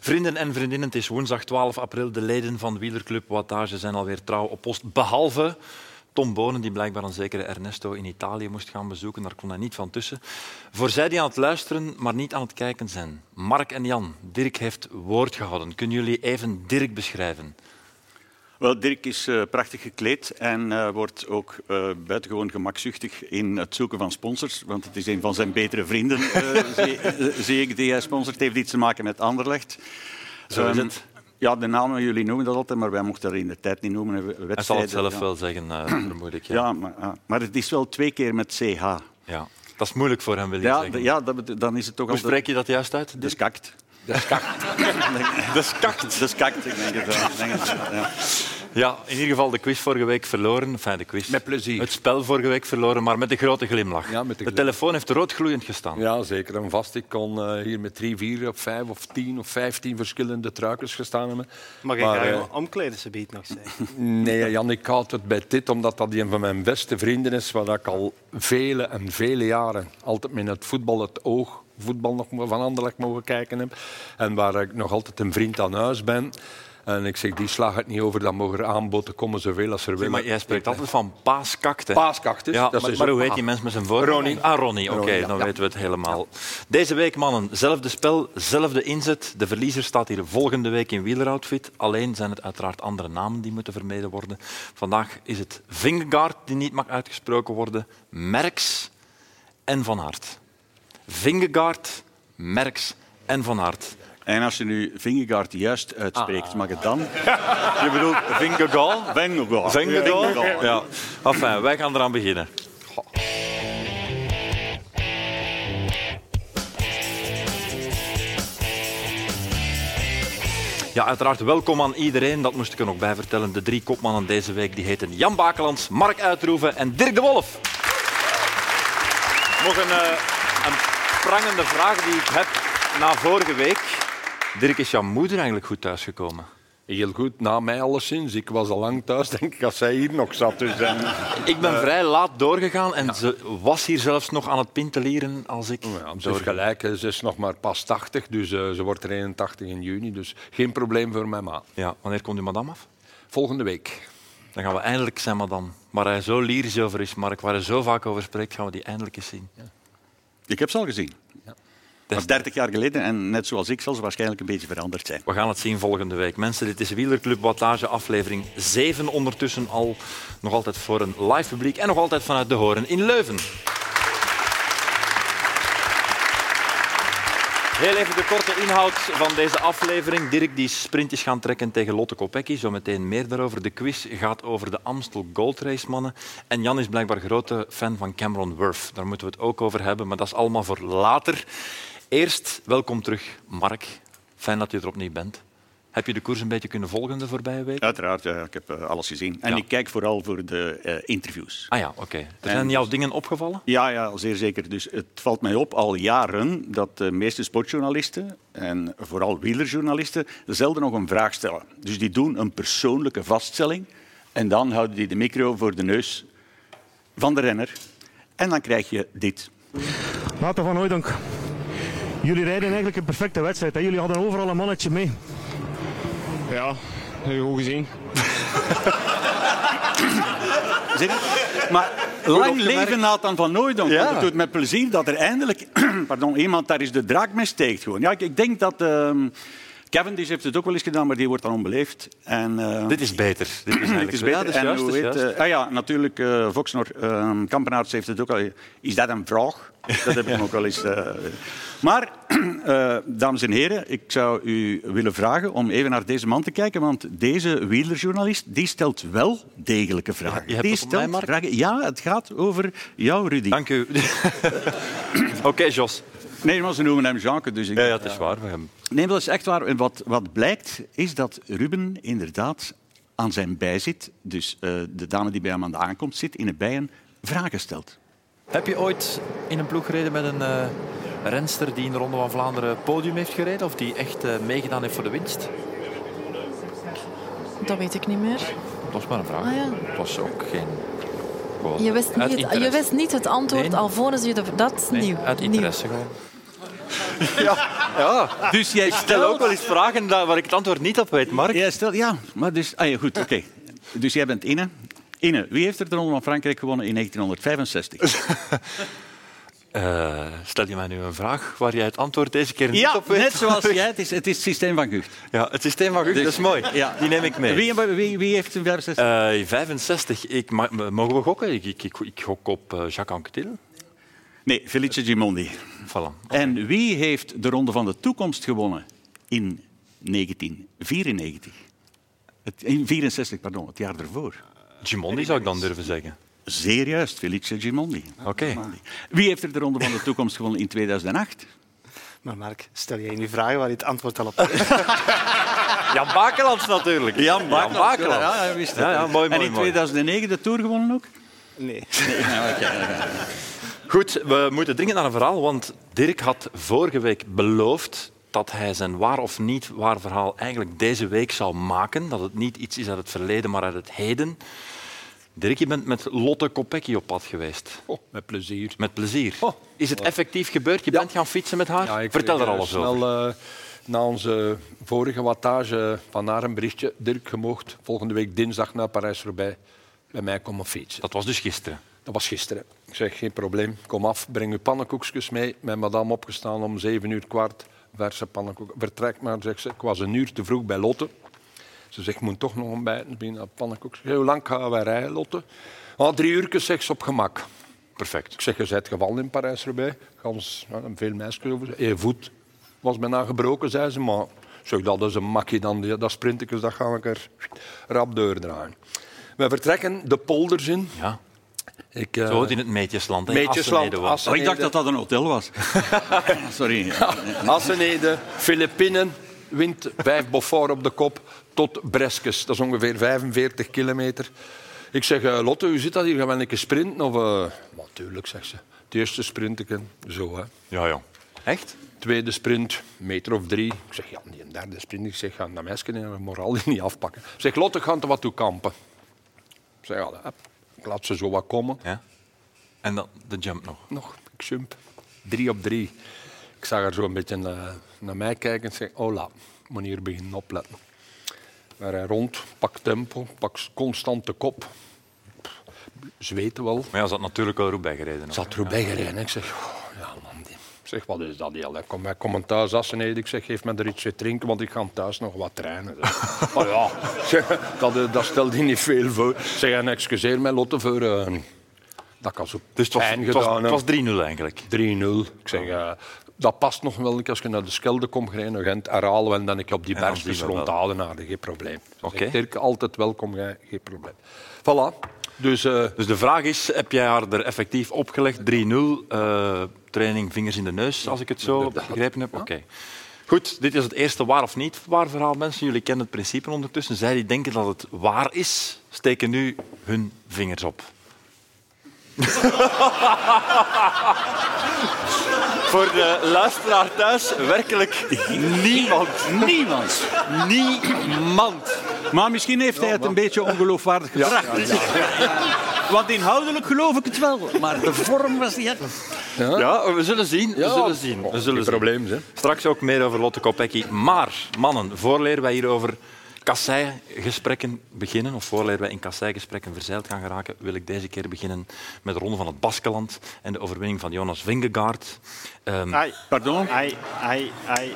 Vrienden en vriendinnen, het is woensdag 12 april. De leden van Wielerclub Wattage zijn alweer trouw op post. Behalve Tom Bonen, die blijkbaar een zekere Ernesto in Italië moest gaan bezoeken. Daar kon hij niet van tussen. Voor zij die aan het luisteren, maar niet aan het kijken zijn. Mark en Jan, Dirk heeft woord gehouden. Kunnen jullie even Dirk beschrijven? Wel, Dirk is eh, prachtig gekleed en eh, wordt ook eh, buitengewoon gemakzuchtig in het zoeken van sponsors. Want het is een van zijn betere vrienden, eh, zie, eh, zie ik, die hij sponsort. Het heeft iets te maken met Anderlecht. Zo is Ehm, het. Ja, de namen, jullie noemen dat altijd, maar wij mochten dat in de tijd niet noemen. hè, Wedstrijden, Hij zal het zelf ja. wel zeggen, eh vermoed ik. Ja. Ja, maar, ah, maar het is wel twee keer met CH. Ja. Dat is moeilijk voor hem, wil je Ja, zeggen. d- ja dat, bet- dan is het toch Hoe altijd... spreek je dat juist uit? De Dirk? skakt. De skakt. De skakt, ik denk het wel. Ik denk het wel, ja. Ja, in ieder geval de quiz vorige week verloren. Enfin, de quiz. Met plezier. Het spel vorige week verloren, maar met een grote glimlach. Ja, met de de glimlach. telefoon heeft roodgloeiend gestaan. Ja, zeker en vast. Ik kon eh, hier met drie, vier, of vijf of tien of vijftien verschillende truikers gestaan hebben. Mag ik Maar, daar eh, een omkleden ze nog zeggen? Nee, eh, Jan, ik houd het bij dit, omdat dat een van mijn beste vrienden is, waar ik al vele en vele jaren altijd met het voetbal het oog, voetbal nog mo- van Anderlecht mogen kijken heb. En waar ik nog altijd een vriend aan huis ben. En ik zeg, die slaag het niet over, dan mogen er aanboden komen zoveel als er Zeg willen. maar jij spreekt altijd van paaskakte. Paaskakte. Ja, dat maar, is maar ook- hoe heet die mens met zijn voornaam? Ronnie. Ah, Ronnie. Oké, Ronnie, ja, dan ja. weten we het helemaal. Deze week, mannen, zelfde spel, zelfde inzet. De verliezer staat hier volgende week in wieleroutfit. Alleen zijn het uiteraard andere namen die moeten vermeden worden. Vandaag is het Vingegaard, die niet mag uitgesproken worden, Merks en Van Aert. Vingegaard, Merks en Van Aert. En als je nu Vingegaard juist uitspreekt, mag het dan? Je bedoelt Vingegaal? Vingegaal. Vingegaard? Ja. Enfin, wij gaan eraan beginnen. Ja, uiteraard welkom aan iedereen. Dat moest ik er nog bij vertellen. De drie kopmannen deze week die heten Jan Bakelands, Mark Uitroeven en Dirk de Wolf. Nog een, eh, een prangende vraag die ik heb na vorige week. Dirk, is jouw moeder eigenlijk goed thuisgekomen? Heel goed, na mij alleszins. Ik was al lang thuis, denk ik, als zij hier nog zat. Dus, en- Ik ben vrij laat doorgegaan en ze was hier zelfs nog aan het pintelieren als ik Ja, dus ze heeft doorging. gelijk, hè. ze is nog maar pas 80, dus eh, ze wordt er 81 in juni. Dus geen probleem voor mijn ma. Ja, wanneer komt u madame af? Volgende week. Dan gaan we eindelijk zijn madame. Waar hij zo lyrisch over is, Mark, waar hij zo vaak over spreekt, gaan we die eindelijk eens zien. Ik heb ze al gezien. Dat is 30 jaar geleden en net zoals ik zal ze waarschijnlijk een beetje veranderd zijn. We gaan het zien volgende week. Mensen, dit is Wielerclub Wattage, aflevering 7 ondertussen al. Nog altijd voor een live publiek en nog altijd vanuit De Horen in Leuven. Heel even de korte inhoud van deze aflevering. Dirk die sprint is gaan trekken tegen Lotte Kopecky. Zometeen meer daarover. De quiz gaat over de Amstel Gold Race mannen. En Jan is blijkbaar grote fan van Cameron Wurf. Daar moeten we het ook over hebben, maar dat is allemaal voor later. Eerst, welkom terug, Mark. Fijn dat je er opnieuw bent. Heb je de koers een beetje kunnen volgen de voorbije week? Uiteraard, ja, ik heb eh, alles gezien. En Ja. ik kijk vooral voor de eh, interviews. Ah ja, oké. Er zijn En- jouw dingen opgevallen? Ja, ja, zeer zeker. Dus het valt mij op al jaren dat de meeste sportjournalisten en vooral wielerjournalisten zelden nog een vraag stellen. Dus die doen een persoonlijke vaststelling en dan houden die de micro voor de neus van de renner. En dan krijg je dit. Later van Hooijdonk. Jullie rijden eigenlijk een perfecte wedstrijd. Hè? Jullie hadden overal een mannetje mee. Ja, heb je goed gezien. Zeg het. Maar lang leven Nathan van Nooydonk. Ja. want Het doet met plezier dat er eindelijk pardon, iemand daar eens de draak mee steekt. Gewoon. Ja, ik, ik denk dat... ehm Cavendish heeft het ook wel eens gedaan, maar die wordt dan onbeleefd. En, eh, Dit is beter. Dit is eigenlijk Het is zo. beter. Ja, dat en juist, hoe dat is heet, juist. eh, ah ja, natuurlijk, eh Voxnor, eh, Kampenaerts heeft het ook al. Is dat een vraag? Dat heb ik hem ook al eens. eh, Maar, eh, dames en heren, ik zou u willen vragen om even naar deze man te kijken. Want deze wielerjournalist die stelt wel degelijke vragen. je hebt die het op mij, Mark? vragen. Ja, het gaat over jou, Rudy. Dank u. oké, Jos. Nee, maar ze noemen hem Jeanke. Dus ik... Ja, ja, het is waar. We hebben- Nee, maar dat is echt waar. En wat, wat blijkt, is dat Ruben inderdaad aan zijn bij zit. Dus eh, de dame die bij hem aan de aankomst zit, in de bijen vragen stelt. Heb je ooit in een ploeg gereden met een eh, renster die in de Ronde van Vlaanderen podium heeft gereden? Of die echt eh, meegedaan heeft voor de winst? Dat weet ik niet meer. Dat was maar een vraag. Ah, ja. Het was ook geen... gewoon Je wist uit niet, het, je interesse. wist niet het antwoord Nee. alvorens je de, dat is Nee, nieuw. Uit Nieuw. interesse gewoon. Dus jij stelt ook wel eens vragen da- waar ik het antwoord niet op weet, Mark. Ja, stel, ja, maar dus... Ah, ja, goed, oké. Dus jij bent Inne. Inne, wie heeft er de Ronde van Frankrijk gewonnen in 1965? Eh, stel je mij nu een vraag waar jij het antwoord deze keer niet Ja, op weet? net zoals jij. Het is het, is het systeem van Gucht. Ja, het systeem van Gucht, dat is mooi. Ja. Die neem ik mee. Wie, wie, wie heeft een 65? Eh, 65, ik, ma- m- mogen we gokken? Ik, ik, ik, ik gok op eh, Jacques Anquetil. Nee, Felice Gimondi. Voilà. En wie heeft de Ronde van de Toekomst gewonnen in 1994? Het, in 64, pardon, het jaar ervoor. Gimondi zou ik dan durven zeggen. Zeer juist, Felice Gimondi. Oké. Wie heeft er de Ronde van de Toekomst gewonnen in 2008? Maar Mark, stel jij nu vragen waar je het antwoord al op hebt. Jan Bakelands natuurlijk. Jan Bakelands. Ja, hij wist het. Ja, ja, mooi, en mooi, in mooi. 2009 de Tour gewonnen ook? Nee. Goed, we moeten dringend naar een verhaal, want Dirk had vorige week beloofd dat hij zijn waar of niet waar verhaal eigenlijk deze week zou maken. Dat het niet iets is uit het verleden, maar uit het heden. Dirk, je bent met Lotte Kopecky op pad geweest. Oh, met plezier. Met plezier. Oh. Is het effectief gebeurd? Je bent gaan fietsen met haar? Ja, ik Vertel er kreeg, eh, alles over. snel, eh, na onze vorige wattage van haar een berichtje. Dirk, je moogt volgende week dinsdag naar Parijs voorbij bij mij komen fietsen. Dat was dus gisteren. Dat was gisteren. Ik zeg, geen probleem, kom af, breng uw pannenkoekjes mee. Mijn madame opgestaan om zeven uur kwart, verse pannenkoek. Vertrek maar, zegt ze. Ik was een uur te vroeg bij Lotte. Ze zegt, ik moet toch nog ontbijten, ik ben naar pannenkoekjes. Ik zeg, Hoe lang gaan wij rijden, Lotte? Ah, drie uurtjes, zegt ze, op gemak. Perfect. Ik zeg, je bent gevallen in Parijs erbij. Gans, ja, veel meisjes over. Je voet was bijna gebroken, zei ze. Maar ik zeg, dat is een makkie dan. die- Dat sprintjes, dat ga ik er rap doordraaien. We vertrekken de polders in. Ja. Ik, eh, Zo in het Meetjesland. hè? Meetjesland, Assenede was. Assen- Oh, ik dacht dat dat een hotel was. Sorry. Assenede, Filipijnen, wint vijf Beaufort op de kop tot Breskes. Dat is ongeveer 45 kilometer. Ik zeg, eh, Lotte, hoe zit dat hier? Gaan we een keer sprinten? Of, eh, Maar tuurlijk, zegt ze. Het eerste sprinten, zo hè. Ja, ja. Echt? Tweede sprint, meter of drie. Ik zeg, ja, die derde sprint. Ik zeg, gaan dat meisje en haar moraal hier niet afpakken. Ik zeg, Lotte, gaan te wat toe kampen. Ik zeg, ja, hup, ik laat ze zo wat komen. Ja. En dan de jump nog. Nog, ik jump. Drie op drie. Ik zag haar zo een beetje eh, naar mij kijken en zei, hola, ik moet hier beginnen opletten. Maar hij rond, pak tempo, pak constant de kop. Pff, Zweten wel. Maar ja, ze had natuurlijk al Roubaix gereden. ook. Ik zat er ook bij gereden. Ik zeg, "Goh, ja man, die- Ik zeg, wat is dat heel? Ik kom, wij komen thuis Asseneden. Ik zeg, geef me er iets te drinken, want ik ga thuis nog wat trainen. Zeg. Maar ja, zeg, dat, eh, dat stelt hij niet veel voor. Ik Zeg, en excuseer mij Lotte voor... eh, dat kan zo Dus het was, pijn het was, gedaan. het hè. was 3-0 eigenlijk. 3-0. Ik zeg, eh, dat past nog wel. Als je naar de Schelde komt, ga je naar Gent, herhalen we en dan ik op die En dan berg dus zien we rond wel. Adenaarde. Geen probleem. Ze Oké. zegt, Dirk, altijd welkom, jij, geen probleem. Voilà. Dus eh, Dus de vraag is, heb jij haar er effectief opgelegd? 3-0, eh, training vingers in de neus, als ik het zo Inderdaad. begrepen heb. Oké. Goed, dit is het eerste waar of niet waar verhaal, mensen. Jullie kennen het principe ondertussen. Zij die denken dat het waar is, steken nu hun vingers op. Voor de luisteraar thuis, werkelijk niemand. Niemand. Niemand. Maar misschien heeft hij het een beetje ongeloofwaardig gebracht. Want inhoudelijk geloof ik het wel, maar de vorm was niet... Ja, we zullen zien. We zullen zien. We zullen geen zien. probleem, hè. Straks ook meer over Lotte Kopecky. Maar, mannen, voorleer wij hierover kasseigesprekken beginnen, of voorleer wij in kasseigesprekken verzeild gaan geraken, wil ik deze keer beginnen met de Ronde van het Baskeland en de overwinning van Jonas Vingegaard. Ehm, Ai, Pardon? ai, ai, ai.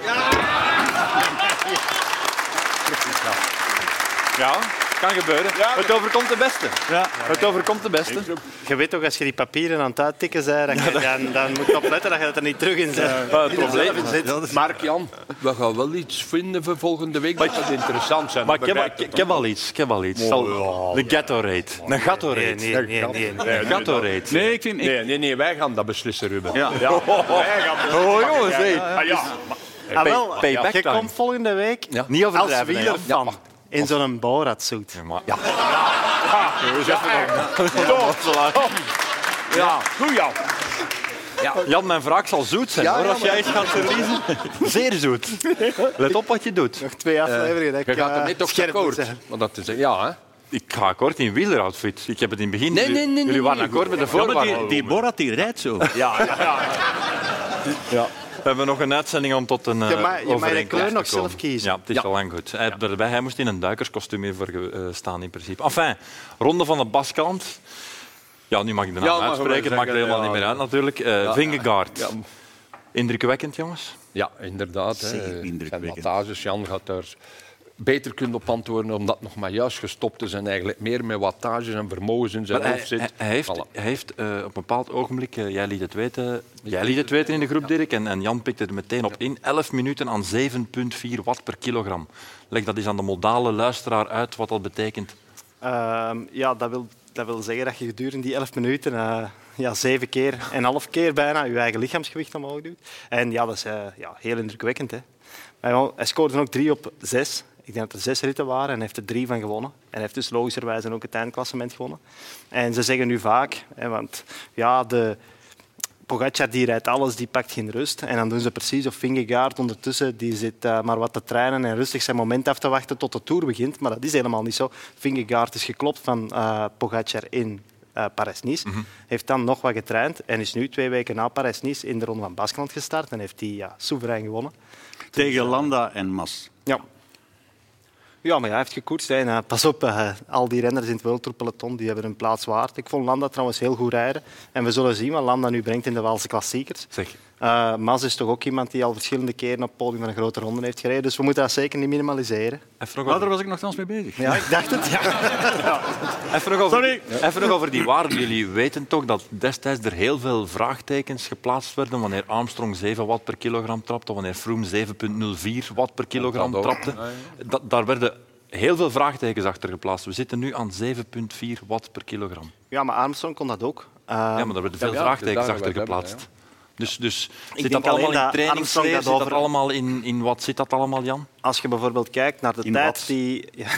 ja, kan gebeuren. Het overkomt de beste. Ja. Het overkomt de beste. Je weet toch, als je die papieren aan het uittikken bent, dat je- dan, dan moet je opletten dat je dat er niet terug in zit. Maar het Eh, probleem is... Mark-Jan, we gaan wel iets vinden voor volgende week. Dat gaat interessant zijn. Maar ik heb, ik- ik heb al iets. Ik heb al iets. Stel, de Gatorade. Een Nee, Gatorade. nee, nee. nee, nee. Een Gatorade. Nee, ik vind... ik- Nee, nee, nee, wij gaan dat beslissen, Ruben. Ja. Oh, jongens, hé. Ah, wel, payback je time. komt volgende week Ja. Niet als overdrijven. hè, Jan. wielerfan in zo'n Borat-suit. Ja, maar- Ja. Ja, goed Jan. Jan, mijn vraag zal zoet zijn hoor, als jij iets gaat verliezen. Zeer zoet. Let op wat je doet. Nog twee afleveringen. dat Je ik, gaat er eh, net toch scherp moet akkoord. zijn. Want dat is, ja, hè. Ik ga akkoord in wieleroutfit. Ik heb het in het begin... Nee, nee, nee, Jullie nee, waren nee. akkoord met de Ja, maar voorwaarden. die, die Borat die rijdt zo. We hebben nog een uitzending om tot een eh, Je mag- je mag de overeenkomst kleur te nog komen. zelf kiezen. Ja, het is al lang goed. Hij, daarbij, hij moest in een duikerskostuum hiervoor ge- eh, staan in principe. Enfin, ronde van de Baskant. Ja, nu mag ik de naam Ja, mag uitspreken. wel Het maakt zeggen, helemaal ja. niet meer uit natuurlijk. Eh Vingegaard. Indrukwekkend, jongens. Ja, inderdaad. hè. Zeer Eh, indrukwekkend. Zijn wattages, Jan gaat daar beter kunnen op antwoorden, omdat het nog maar juist gestopt is en eigenlijk meer met wattages en vermogens in zijn Maar hij, hoofd zit. hij- hij heeft, Voilà. hij heeft eh, op een bepaald ogenblik, eh, jij liet het weten, jij liet het weten in de groep, Dirk, en, en Jan pikte er meteen op in. 11 minuten aan 7,4 watt per kilogram. Leg dat eens aan de modale luisteraar uit wat dat betekent. Ehm, ja, dat wil, dat wil zeggen dat je gedurende die 11 minuten eh, ja, zeven keer en een half keer bijna je eigen lichaamsgewicht omhoog doet. En ja, dat is eh, ja, heel indrukwekkend. Hè. Maar ja, hij scoorde ook drie op zes. Ik denk dat er zes ritten waren en hij heeft er drie van gewonnen. En hij heeft dus logischerwijs ook het eindklassement gewonnen. En ze zeggen nu vaak, hè, want ja, de, Pogacar die rijdt alles, die pakt geen rust. En dan doen ze precies of Vingegaard ondertussen, die zit eh, maar wat te trainen en rustig zijn moment af te wachten tot de Tour begint. Maar dat is helemaal niet zo. Vingegaard is geklopt van eh Pogacar in eh, Parijs-Nice. Heeft dan nog wat getraind en is nu twee weken na Parijs-Nice in de Ronde van Baskeland gestart. En heeft die ja, soeverein gewonnen. Tegen Landa en Mas. Ja. Ja, maar ja, hij heeft gekoerst. hè. En, eh, pas op, eh, al die renners in het World Tour peloton die hebben hun plaats waard. Ik vond Landa trouwens heel goed rijden. En we zullen zien wat Landa nu brengt in de Waalse klassiekers. Zeg, Eh Mas is toch ook iemand die al verschillende keren op het podium van een grote ronde heeft gereden. Dus we moeten dat zeker niet minimaliseren. even nog Maar daar over, was ik nogthans mee bezig. Ja, ik dacht het. even nog over, even nog over die waarde. Jullie weten toch dat destijds er heel veel vraagtekens geplaatst werden wanneer Armstrong 7 watt per kilogram trapte, wanneer Froome 7,04 watt per kilogram Dat ook. trapte. Dat, daar werden heel veel vraagtekens achter geplaatst. We zitten nu aan 7,4 watt per kilogram. Ja, maar Armstrong kon dat ook. Eh, Ja, maar daar werden Ja, veel ja, vraagtekens daar achter hebben we het geplaatst. Dus, dus zit denk dat alleen allemaal in dat trainingsleer? Armstrong dat Zit dat over- allemaal in, in wat zit dat allemaal, Jan? Als je bijvoorbeeld kijkt naar de In tijd wat? die... Ja,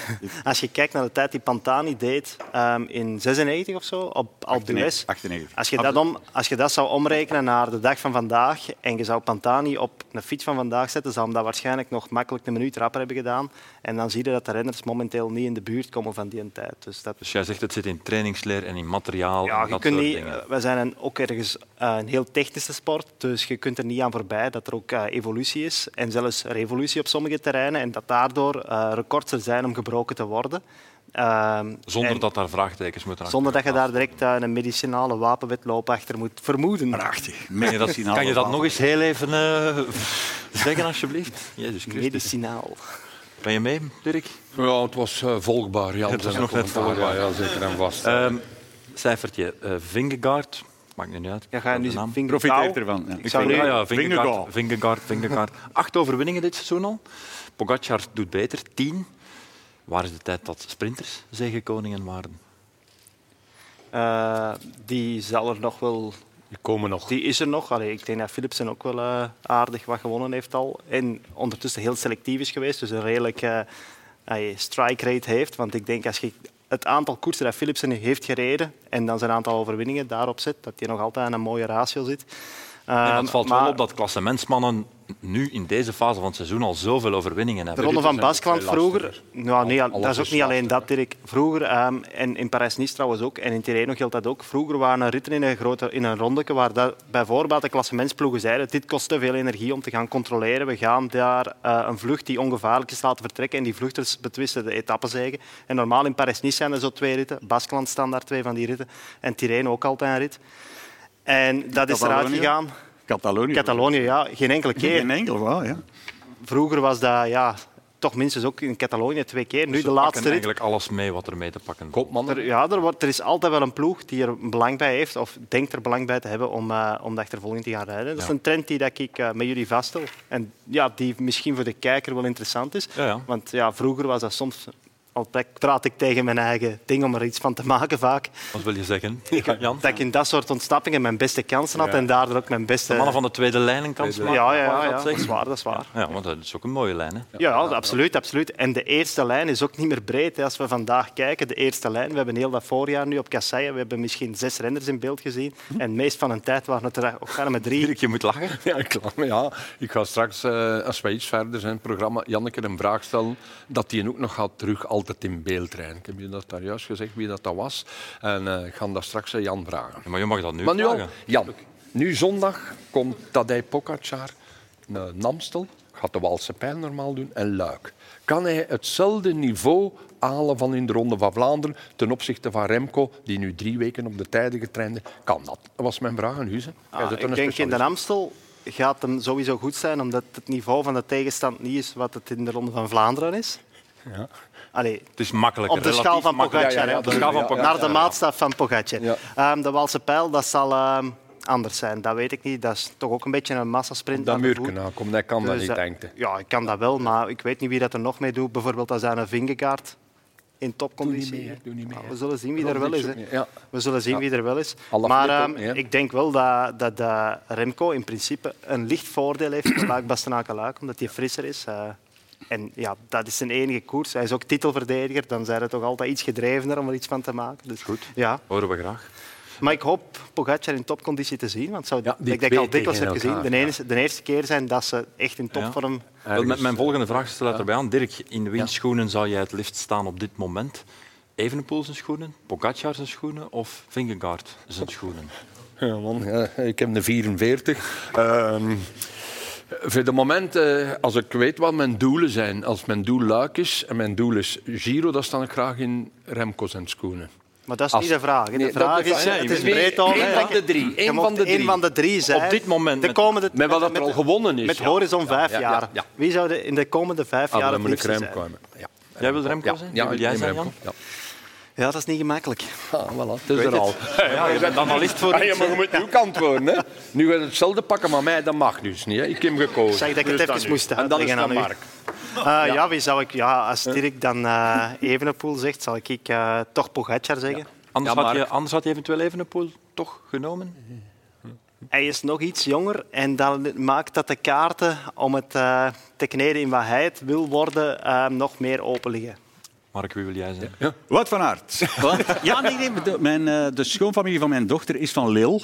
als je kijkt naar de tijd die Pantani deed ehm, in 96 of zo, op Alpe d'Huez. 98. Als je, dat om, als je dat zou omrekenen naar de dag van vandaag en je zou Pantani op een fiets van vandaag zetten, zou hem dat waarschijnlijk nog makkelijk een minuut rapper hebben gedaan. En dan zie je dat de renners momenteel niet in de buurt komen van die tijd. Dus dat Dus jij zegt het zit in trainingsleer en in materiaal Ja, en je dat kunt soort niet, dingen. we zijn een, ook ergens eh, een heel technische sport, dus je kunt er niet aan voorbij dat er ook eh, evolutie is en zelfs revolutie op sommige terreinen en dat daardoor eh, records er zijn om gebroken te worden. Ehm, Zonder en dat daar vraagtekens moeten achter zonder dat je daar direct eh, een medicinale wapenwetloop achter moet vermoeden. Prachtig. geplaatst. Medicinaal Kan je dat water. nog eens heel even eh, zeggen, alsjeblieft? Jezus Christus. Medicinaal. Kan je mee, Dirk? Ja, het was eh, volgbaar. Ja, Het was zijn nog net commentaar, volgbaar. Ja, ja, zeker en vast. Ehm, cijfertje. eh Vingegaard. Maakt niet uit. Ja, ga je nu De naam. vinger Profiteert kou? ervan. Ja. Ik zou nu... Ja, ja, Vingegaard, Vingegaard. Vingegaard, Vingegaard. Acht overwinningen dit seizoen al. Pogacar doet beter, tien. Waar is de tijd dat sprinters zegenkoningen waren? eh, die zal er nog wel Die komen nog. Die is er nog. Allee, ik denk dat Philipsen ook wel eh, aardig wat gewonnen heeft al. En ondertussen heel selectief is geweest. Dus een redelijk eh, allee, strike rate heeft. Want ik denk als je het aantal koersen dat Philipsen heeft gereden en dan zijn aantal overwinningen daarop zet, dat hij nog altijd aan een mooie ratio zit. En Ehm, het valt maar wel op dat klassementsmannen nu in deze fase van het seizoen al zoveel overwinningen De hebben. Dus Ronde van zijn ook Baskeland veel lastiger. vroeger... Nou, nee, Alles dat is ook is niet alleen dat, Dirk. Vroeger, ehm, en in Parijs-Nice trouwens ook, en in Tirreno geldt dat ook. Vroeger waren er ritten in een, grote, in een rondeke waar dat, bij voorbaat de klassementsploegen zeiden dit kost te veel energie om te gaan controleren. We gaan daar eh, een vlucht die ongevaarlijk is laten vertrekken en die vluchters betwisten de etappenzegen. En normaal in Parijs-Nice zijn er zo twee ritten. Baskeland staan daar twee van die ritten. En Tirreno ook altijd een rit. En dat is eruit Catalonië? gegaan. Catalonië. Catalonië, ja, geen enkele keer Geen enkel, wauw, ja. vroeger was dat ja, toch minstens ook in Catalonië twee keer. Nu de Ze pakken laatste rit. eigenlijk alles mee wat er mee te pakken valt. Koopman. Er, ja, er, wordt, er is altijd wel een ploeg die er belang bij heeft, of denkt er belang bij te hebben om, eh om de achtervolging te gaan rijden. Dat is Ja. een trend die dat ik eh, met jullie vaststel. En ja, die misschien voor de kijker wel interessant is. Ja, ja. Want ja, vroeger was dat soms. Al pra- praat ik tegen mijn eigen ding om er iets van te maken vaak. Wat wil je zeggen, Jan? Dat ik in dat soort ontsnappingen mijn beste kansen had en daardoor ook mijn beste... De mannen van de tweede lijn een kans ja, maken? ja, mag ja, ik ja, dat dat is zeggen? waar, dat is waar. Ja, want dat is ook een mooie lijn. Hè? Ja, ja, absoluut, absoluut. En de eerste lijn is ook niet meer breed. hè. Als we vandaag kijken, de eerste lijn. We hebben heel dat voorjaar nu op Kasseien. We hebben misschien zes renners in beeld gezien. En meest van een tijd waren het er ook gaan met drie. Dirk, je moet lachen. Ja, klaar. Ja, ik ga straks, eh, als wij iets verder zijn in het programma, Janneke een vraag stellen dat die ook nog gaat terug altijd in beeld rijden. Ik heb je dat daar juist gezegd, wie dat, dat was. En eh, ik ga dat straks aan Jan vragen. Ja, maar je mag dat nu Maar nu al, vragen. Jan, nu zondag komt Tadej Pogacar naar Namstel, gaat de Waalse pijl normaal doen, en Luik. Kan hij hetzelfde niveau halen van in de Ronde van Vlaanderen ten opzichte van Remco, die nu drie weken op de tijden getraind is? Kan dat? Dat was mijn vraag aan u. Ah, ik denk in de Amstel gaat hem sowieso goed zijn, omdat het niveau van de tegenstand niet is wat het in de Ronde van Vlaanderen is. Ja. Allee, Het is makkelijker. op de relatief schaal van makkelijker. Pogacar. ja, hè, ja, op de schaal van Pogacar, Naar de maatstaf van Pogacar. Ja. Ehm, de Waalse pijl, dat zal ehm, anders zijn. Dat weet ik niet. Dat is toch ook een beetje een massasprint. Dat aan de voet. Murken aankomt, hij kan dat Dus, niet, eh, denkt hij. Ja, ik kan dat wel, maar ik weet niet wie dat er nog mee doet. Bijvoorbeeld als hij een vingerkaart in topconditie. Doe niet mee, hè. Doe niet mee, Maar hè. we zullen zien wie Roglic er wel is. ook hè. niet, ja. We zullen zien wie er wel is. Alle maar Philippe ehm, ook niet, hè. ik denk wel dat, dat, dat Remco in principe een licht voordeel heeft op Luik Bastenaken Luik, omdat hij frisser is. eh. en ja, dat is zijn enige koers. Hij is ook titelverdediger, dan zijn er toch altijd iets gedrevener om er iets van te maken. Dus, Goed. Ja. Horen we graag. Maar ik hoop Pogacar in topconditie te zien, want het zou, Ja, die ik denk al twee dikwijls heb tegen gezien, de, elkaar, ene- de eerste keer zijn dat ze echt in topvorm... Wel, met mijn volgende vraag stel ik erbij aan. Dirk, in windschoenen zou jij het liefst staan op dit moment? Evenepoel zijn schoenen, Pogacar zijn schoenen of Vingegaard zijn schoenen? Ja, man, ja, ik heb de 44. Ehm, voor de moment, eh, als ik weet wat mijn doelen zijn, als mijn doel Luik is en mijn doel is Giro, dan sta ik graag in Remco's en schoenen. Maar dat is Als- niet de vraag. hè. De Nee, dat vraag is- is, ja, het je is moet- breed al. Eén hè. van de drie. Je Eén mocht van de Één drie. van de drie zijn. Op dit moment De met- komende, Met wat dat er al gewonnen is. Met ja. horizon vijf ja, ja, jaar. ja. Wie zou de- in de komende vijf Ah, jaar dan het moet ik liefste zijn? Remco hebben. Ja. Jij wil Remco Ja, zijn? ja, Wie wil jij ik zijn, neem Jan? Remco. Ja. Ja, dat is niet gemakkelijk. Ah, voilà, het is er al. Ja, je bent analist voor Ah, ja, maar je moet nu antwoorden. Hè. Nu gaat hetzelfde pakken, maar mij dat mag dus niet. Hè. Ik heb hem gekozen. Ik zeg dat ik het Dus even moest En dan is uitleggen dat aan u. Mark. Eh, ja. wie zou ik... Ja, als Dirk dan eh Evenepoel zegt, zal ik eh, toch Pogacar zeggen. Anders, Ja, had je, Mark. anders had je eventueel Evenepoel toch genomen? Hij is nog iets jonger en dat maakt dat de kaarten om het eh, te kneden in wat hij het wil worden, eh, nog meer open liggen. Mark, wie wil jij zijn? Wat van aard. ja, nee, nee, de, mijn, eh, de schoonfamilie van mijn dochter is van Leel.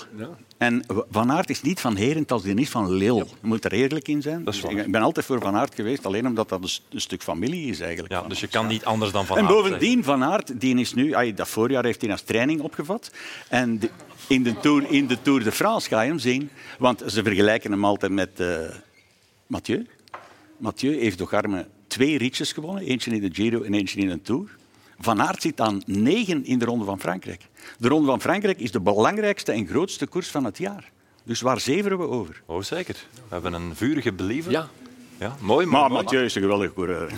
En W- Van Aert is niet van Herent als die is van Leel. Je moet er eerlijk in zijn. Dat is Dus waar. ik- Ik ben altijd voor Van Aert geweest, alleen omdat dat een, s- een stuk familie is eigenlijk. Ja, van dus je ons. kan niet anders dan van en Aert bovendien, Van Aert, die is nu... ai, dat voorjaar heeft hij als training opgevat. En de- in, de tour, in de Tour de France ga je hem zien. Want ze vergelijken hem altijd met eh, Mathieu. Mathieu heeft door Garme twee ritjes gewonnen. Eentje in de Giro en eentje in de Tour. Van Aert zit aan negen in de Ronde van Frankrijk. De Ronde van Frankrijk is de belangrijkste en grootste koers van het jaar. Dus waar zeveren we over? zeggen. Oh, zeker. We hebben een vurige believer. Ja. Ja, mooi, mooi, Maar mooi. Mathieu is een geweldige coureur.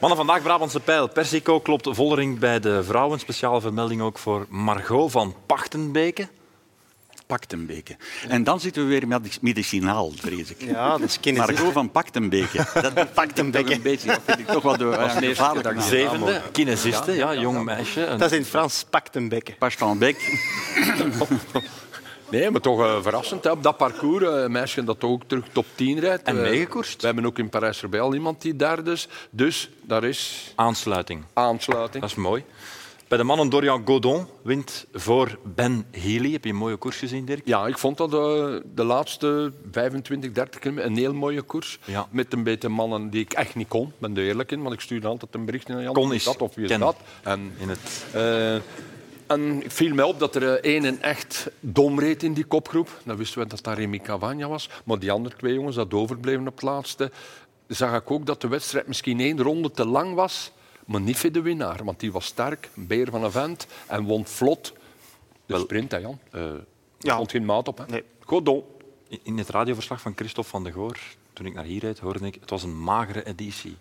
Mannen, vandaag Brabantse pijl. Persico klopt Vollering bij de vrouwen. Speciale vermelding ook voor Margot van Pachtenbeke. Paktenbeke. En dan zitten we weer met medicinaal, vrees ik. Ja, dat is kinesist. Margot van Paktenbeke. Dat is Pakt een toch bekken. een beetje, dat vind ik toch wel de eh, gevaarlijke naam. Zevende, kinesiste, ja, jong meisje. Een- Dat is in het Frans, pakt een bekken. Pas van Beek. Nee, maar toch eh, verrassend. Hè. Op dat parcours, eh, een meisje dat ook terug top 10 rijdt. En Eh, meegekoerst. We hebben ook in Parijs-Roubaix al iemand die derde is. Dus daar is Aansluiting, aansluiting. dat is mooi. Bij de mannen Dorian Godon wint voor Ben Healy. Heb je een mooie koers gezien, Dirk? Ja, ik vond dat eh, de laatste 25, 30 kilometer een heel mooie koers. Ja. Met een beetje mannen die ik echt niet kon, ik ben er eerlijk in. Want ik stuurde altijd een bericht naar Jan. Kon wie is dat of wie is kennen. dat? En In het... Eh, en ik viel mij op dat er eh, één en echt dom reed in die kopgroep. Dan wisten we dat dat Remy Cavagna was. Maar die andere twee jongens dat overbleven op het laatste... zag ik ook dat de wedstrijd misschien één ronde te lang was. Maar niet voor de winnaar, want die was sterk, een beer van een vent. En won vlot de sprint, hè Jan. Eh Ja. Vond geen maat op, hè? Nee. Godon. In het radioverslag van Christophe van de Goor, toen ik naar hier reed, hoorde ik... Het was een magere editie.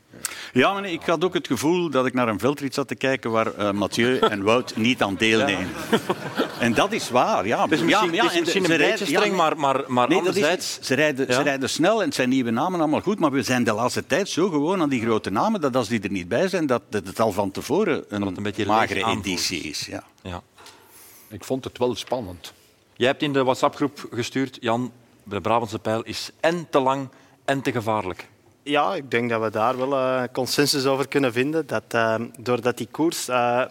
Ja, maar nee, ik had ook het gevoel dat ik naar een veldrit zat te kijken waar eh, Mathieu en Wout niet aan deelnemen. En dat is waar, ja. Het is ja, misschien, maar ja, het is en misschien ze- een ze beetje rijden- ja, streng, nee. maar, maar, maar Nee, dat is- anderzijds... ze, rijden, Ja. ze rijden snel en het zijn nieuwe namen allemaal goed. Maar we zijn de laatste tijd zo gewoon aan die grote namen dat als die er niet bij zijn, dat, dat het al van tevoren een, het een beetje leeg magere aanvoelt. editie is. Ja. Ja. Ik vond het wel spannend. Jij hebt in de WhatsApp-groep gestuurd, Jan, de Brabantse pijl is en te lang en te gevaarlijk. Ja, ik denk dat we daar wel eh, consensus over kunnen vinden. Dat, eh, doordat die koers... eh,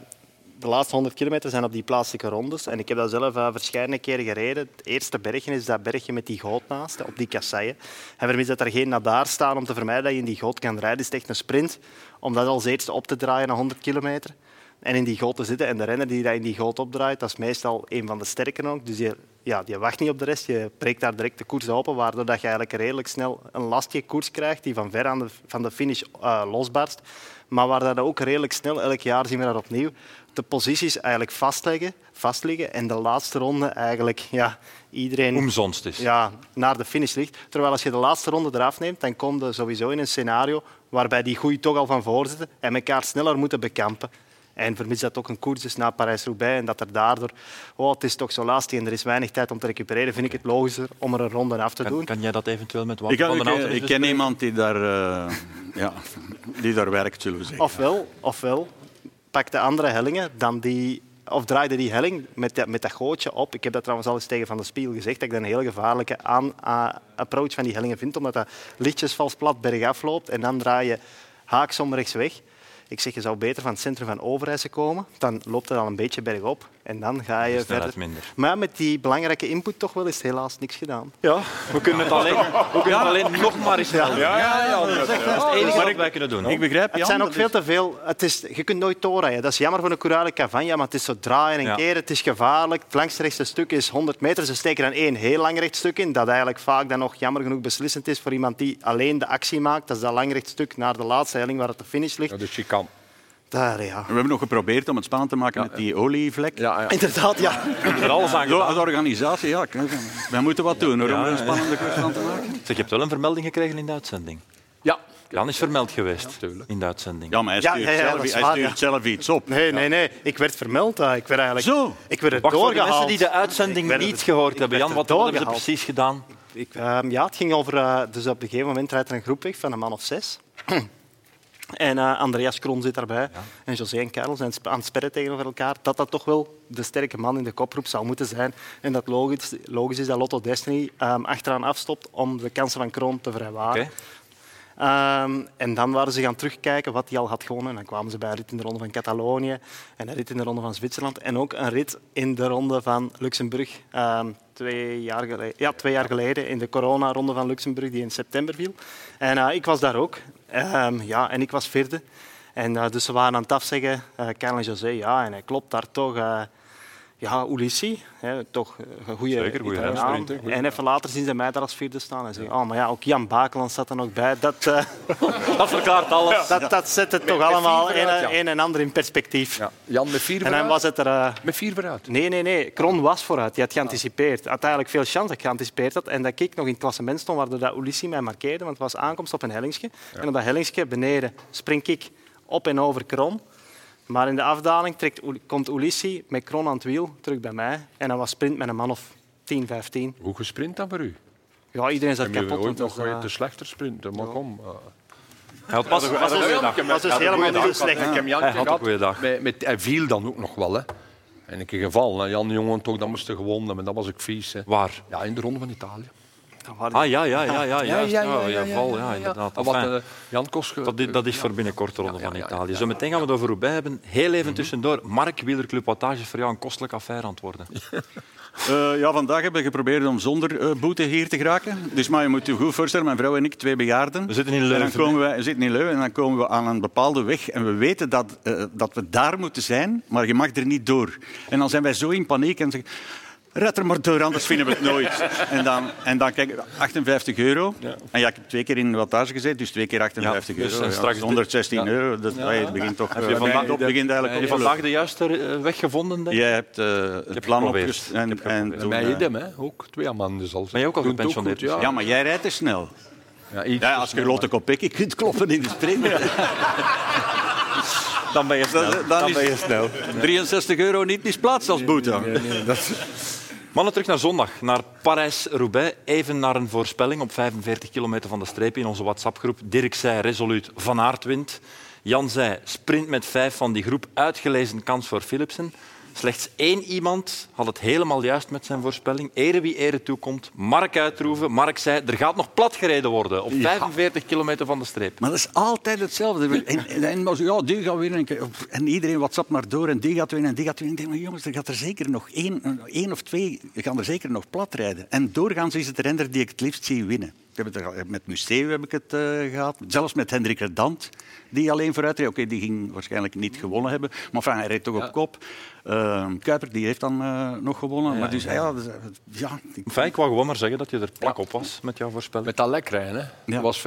de laatste 100 kilometer zijn op die plaatselijke rondes. En ik heb dat zelf eh, verschillende keren gereden. Het eerste bergje is dat bergje met die goot naast, op die kasseien. En vermis dat er geen nadaar staan om te vermijden dat je in die goot kan rijden. Het is echt een sprint om dat als eerste op te draaien naar 100 kilometer. En in die goot te zitten. En de renner die dat in die goot opdraait, dat is meestal een van de sterken ook. Dus die ja, die wacht niet op de rest. Je breekt daar direct de koers open, waardoor dat je eigenlijk redelijk snel een lastige koers krijgt die van ver aan de, van de finish eh, losbarst. Maar waar dat ook redelijk snel, elk jaar zien we dat opnieuw, de posities eigenlijk vastleggen, vastliggen en de laatste ronde eigenlijk ja, iedereen Omsonst is. ja, naar de finish ligt. Terwijl als je de laatste ronde eraf neemt, dan kom je sowieso in een scenario waarbij die goeie toch al van voor zitten en elkaar sneller moeten bekampen. En vermits dat ook een koers is naar Parijs-Roubaix en dat er daardoor... Oh, het is toch zo lastig en er is weinig tijd om te recupereren. Vind ik het logischer om er een ronde af te doen. Kan, kan jij dat eventueel met Wout Ik, eh, van den Houten ik, eens ik ken iemand die daar, eh, ja, die daar werkt, zullen we zeggen. Ofwel, ofwel pak de andere hellingen dan die... Of draaide die helling met dat, met dat gootje op. Ik heb dat trouwens al eens tegen Van der Spiegel gezegd, dat ik dat een heel gevaarlijke aan, a- approach van die hellingen vind, omdat dat lichtjes vals plat bergaf loopt en dan draai je haaksom rechts weg. Ik zeg, je zou beter van het centrum van Overijssel komen, dan loopt het al een beetje bergop en dan ga je snelheid verder. minder. Maar met die belangrijke input toch wel is het helaas niks gedaan. Ja, we kunnen het alleen, we kunnen het alleen nog maar eens helpen. Ja, ja, dat is Dat is het enige wat wij kunnen doen. Ik begrijp Jan, Het zijn ook dat veel is- te veel. Het is, je kunt nooit doorrijden. Dat is jammer voor een Courale Cavagna, maar het is zo draaien en Ja. keren. Het is gevaarlijk. Het langste rechtste stuk is 100 meter. Ze steken dan één heel lang rechtstuk in. Dat eigenlijk vaak dan nog jammer genoeg beslissend is voor iemand die alleen de actie maakt. Dat is dat lang rechtstuk naar de laatste helling waar het de finish ligt. de chicane. Daar, ja. We hebben nog geprobeerd om het spannend te maken met die olievlek. Ja, ja. Inderdaad, ja. er alles aan Zo, als organisatie, ja. ik- Wij moeten wat doen hoor, om er een spannende koers van te maken. Zeg, je hebt wel een vermelding gekregen in de uitzending. ja. Jan is vermeld geweest in de uitzending. Ja, maar hij Ja, stuurt, ja, ja, zelf, dat is hij waar, stuurt ja. zelf iets op. Nee, nee, nee. Ik werd vermeld. hè. Ik werd eigenlijk... Zo. Ik werd er Wacht, voor de doorgehaald. mensen die de uitzending Ik werd er- niet gehoord ik hebben, werd Jan, er wat hebben ze doorgehaald. precies gedaan? Ik, ehm, ja, het ging over... eh, dus op een gegeven moment rijdt er een groep weg van een man of zes. En eh, Andreas Kron zit daarbij. En José en Karel zijn sp- aan het sperren tegenover elkaar. Dat dat toch wel de sterke man in de kopgroep zou moeten zijn. En dat logisch, logisch is dat Lotto Destiny ehm, achteraan afstopt om de kansen van Kron te vrijwaren. Oké. Ehm, en dan waren ze gaan terugkijken wat hij al had gewonnen. En dan kwamen ze bij een rit in de ronde van Catalonië en een rit in de ronde van Zwitserland en ook een rit in de ronde van Luxemburg. Ehm, twee, jaar geleden, ja, twee jaar geleden in de coronaronde van Luxemburg die in september viel. En eh, ik was daar ook. Ehm, ja, en ik was vierde. En eh, dus ze waren aan het afzeggen, eh Karel en José, ja, en hij klopt daar toch... eh, ja, Ulissi, hè, toch eh, een goede Zeker, goeie Italiaan. En even later zien ze mij daar als vierde staan en zeggen, oh, maar ja, ook Jan Bakeland zat er nog bij. Dat, eh, Dat verklaart alles. dat, dat zet het toch allemaal vier een, vooruit, ja. een en ander in perspectief. Ja. Jan met vier En dan vooruit. was het er... eh, Met vier vooruit. Nee, nee, nee. Kron was vooruit. Die had geanticipeerd. Uiteindelijk veel chance dat ik geanticipeerd had. En dat ik nog in het klassement stond, waardoor dat Ulissi mij markeerde. Want het was aankomst op een hellingsje. En op dat hellingsje beneden spring ik op en over Kron. Maar in de afdaling trekt, Ul- komt Ulissi met Kron aan het wiel terug bij mij. En dan was sprint met een man of 10, 15. Hoe gesprint dan voor u? Ja, iedereen zat Heb je kapot. ooit want dat nog was, eh, te slechter sprinten? Maar kom. eh. Hij had pas, pas een goede dag. Dat was dus helemaal niet zo slecht. Ik heb Jan Hij had gehad. een goede dag. Met, met, hij viel dan ook nog wel. Hè. En ik geval. Jan Jongen toch, dat moest hij gewonnen. Maar dat was ik vies. Hè. Waar? Ja, in de Ronde van Italië. Ah, ja, ja, ja, ja, juist. ja, ja, val, ja, inderdaad. Wat, Enfin, eh, Jan Kos... ge- Dat, i- dat is voor binnenkort de Ronde Ja, ja, van ja, ja. Italië. Zo meteen gaan we het over Roubaix hebben. Heel even tussendoor. Mark, wielerclub Wattage is voor jou een kostelijk affaire aan het worden. Eh, ja, vandaag hebben we geprobeerd om zonder eh, boete hier te geraken. Dus maar je moet je goed voorstellen, mijn vrouw en ik, twee bejaarden. We zitten in En dan Leuven. komen wij, we zitten in Leuven en dan komen we aan een bepaalde weg. En we weten dat, eh, dat we daar moeten zijn, maar je mag er niet door. En dan zijn wij zo in paniek en zeggen... Red er maar door, anders vinden we het nooit. En dan, en dan kijk, 58 euro. En ja, ik heb twee keer in de wattage gezeten, dus twee keer 58 Ja, dus, euro. en ja. straks de- 116 euro. Dat, hey, het begint toch... eh, vandaag- het begint eigenlijk Heb je op te lopen. vandaag de juiste eh, weg gevonden? denk ik? Jij hebt eh, het plan geprobeerd. opgesteld. En, en en toen, mij eh, idem, hè. Ook twee man dus al. Ben je ook al Doet het gepensioneerd? goed, Ja, ja, maar jij rijdt te snel. Ja, iets Ja, als je Lotte Kopecky kunt kloppen in de sprint, Dan ben je snel. dan, is ben je snel. 63 euro niet misplaatst als boete. Mannen, terug naar zondag, naar Parijs-Roubaix. Even naar een voorspelling op 45 kilometer van de streep in onze WhatsApp-groep. Dirk zei resoluut Van Aert wint. Jan zei sprint met vijf van die groep, uitgelezen kans voor Philipsen. Slechts één iemand had het helemaal juist met zijn voorspelling. Ere wie ere toekomt, Mark uitroeven. Mark zei, er gaat nog plat gereden worden op 45 kilometer van de streep. Maar dat is altijd hetzelfde. En, en, en maar zo, ja, die gaat winnen. En iedereen WhatsApp maar door. En die gaat winnen. En die gaat winnen. Ik denk, maar jongens, er gaat er zeker nog één, één of twee gaan er zeker nog plat rijden. En doorgaans is het de renner die ik het liefst zie winnen. heb het er al- met Museeuw heb ik het eh, gehad. Zelfs met Hendrik Redant, die alleen vooruit reed. Oké, die ging waarschijnlijk niet gewonnen hebben. Maar enfin, hij reed toch op kop. Eh, Kuiper die heeft dan eh, nog gewonnen. maar dus, ja, dus, eh, ja, ik- Enfin, ik wou gewoon maar zeggen dat je er plak op was met jouw voorspelling. Met dat lekrijden, hè. Ja. Er was 500%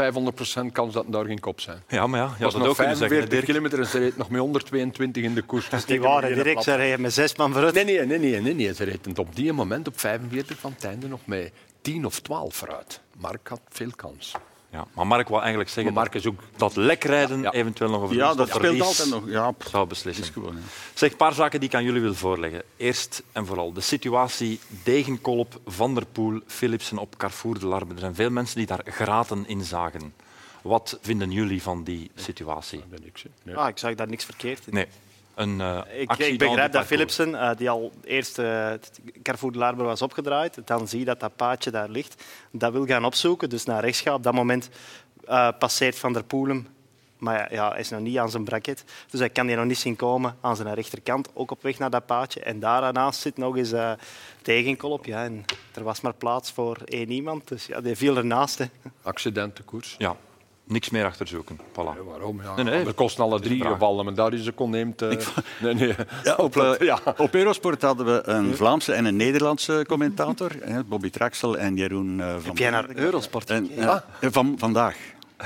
kans dat hij daar geen kop zijn. Ja, maar ja, je Dat had was het nog ook kunnen zeggen. hè, 45 Dirk. kilometer en ze reed nog met 122 in de koers. Dus Dat Die waren direct, ze rijden met zes man vooruit. Nee, nee, nee, nee, nee, nee. Ze reed het op die moment op 45 van het einde nog mee 10 of 12 vooruit. Mark had veel kans. Ja, maar Mark wou eigenlijk zeggen Maar Mark is ook dat lekrijden Ja. eventueel nog over ja, dat speelt verlies altijd nog. Ja, pff, zou is beslissen. gewoon, ja. Zeg, een paar zaken die ik aan jullie wil voorleggen. Eerst en vooral de situatie Degenkolp, Van der Poel, Philipsen op Carrefour de Larbe. Er zijn veel mensen die daar graten in zagen. Wat vinden jullie van die situatie? ben ik, nee. Ah, ik zag daar niks verkeerd in. Nee, een eh Ik, actie ik dans de begrijp parcours. dat Philipsen, eh, die al eerst eh, het Carrefour de Larber was opgedraaid, dan zie je dat dat paadje daar ligt, dat wil gaan opzoeken, dus naar rechts gaat. Op dat moment eh, passeert Van der Poelem, maar ja, ja, hij is nog niet aan zijn bracket, dus hij kan die nog niet zien komen aan zijn rechterkant, ook op weg naar dat paadje. En daarnaast zit nog eens eh tegenkolop, ja, en er was maar plaats voor één iemand, dus ja, die viel ernaast. Hè. Accidentenkoers. Ja, niks meer achterzoeken. Voilà. Ja, waarom? Ja. Nee, nee. Er kosten alle drie vraag. gevallen, maar daar is een kon neemt. eh, nee, nee. Ja, op, Oplet. eh, op Eurosport hadden we een Vlaamse en een Nederlandse commentator. hè, Bobby Traxel en Jeroen eh, van Heb jij naar Eurosport En, ja, van, vandaag.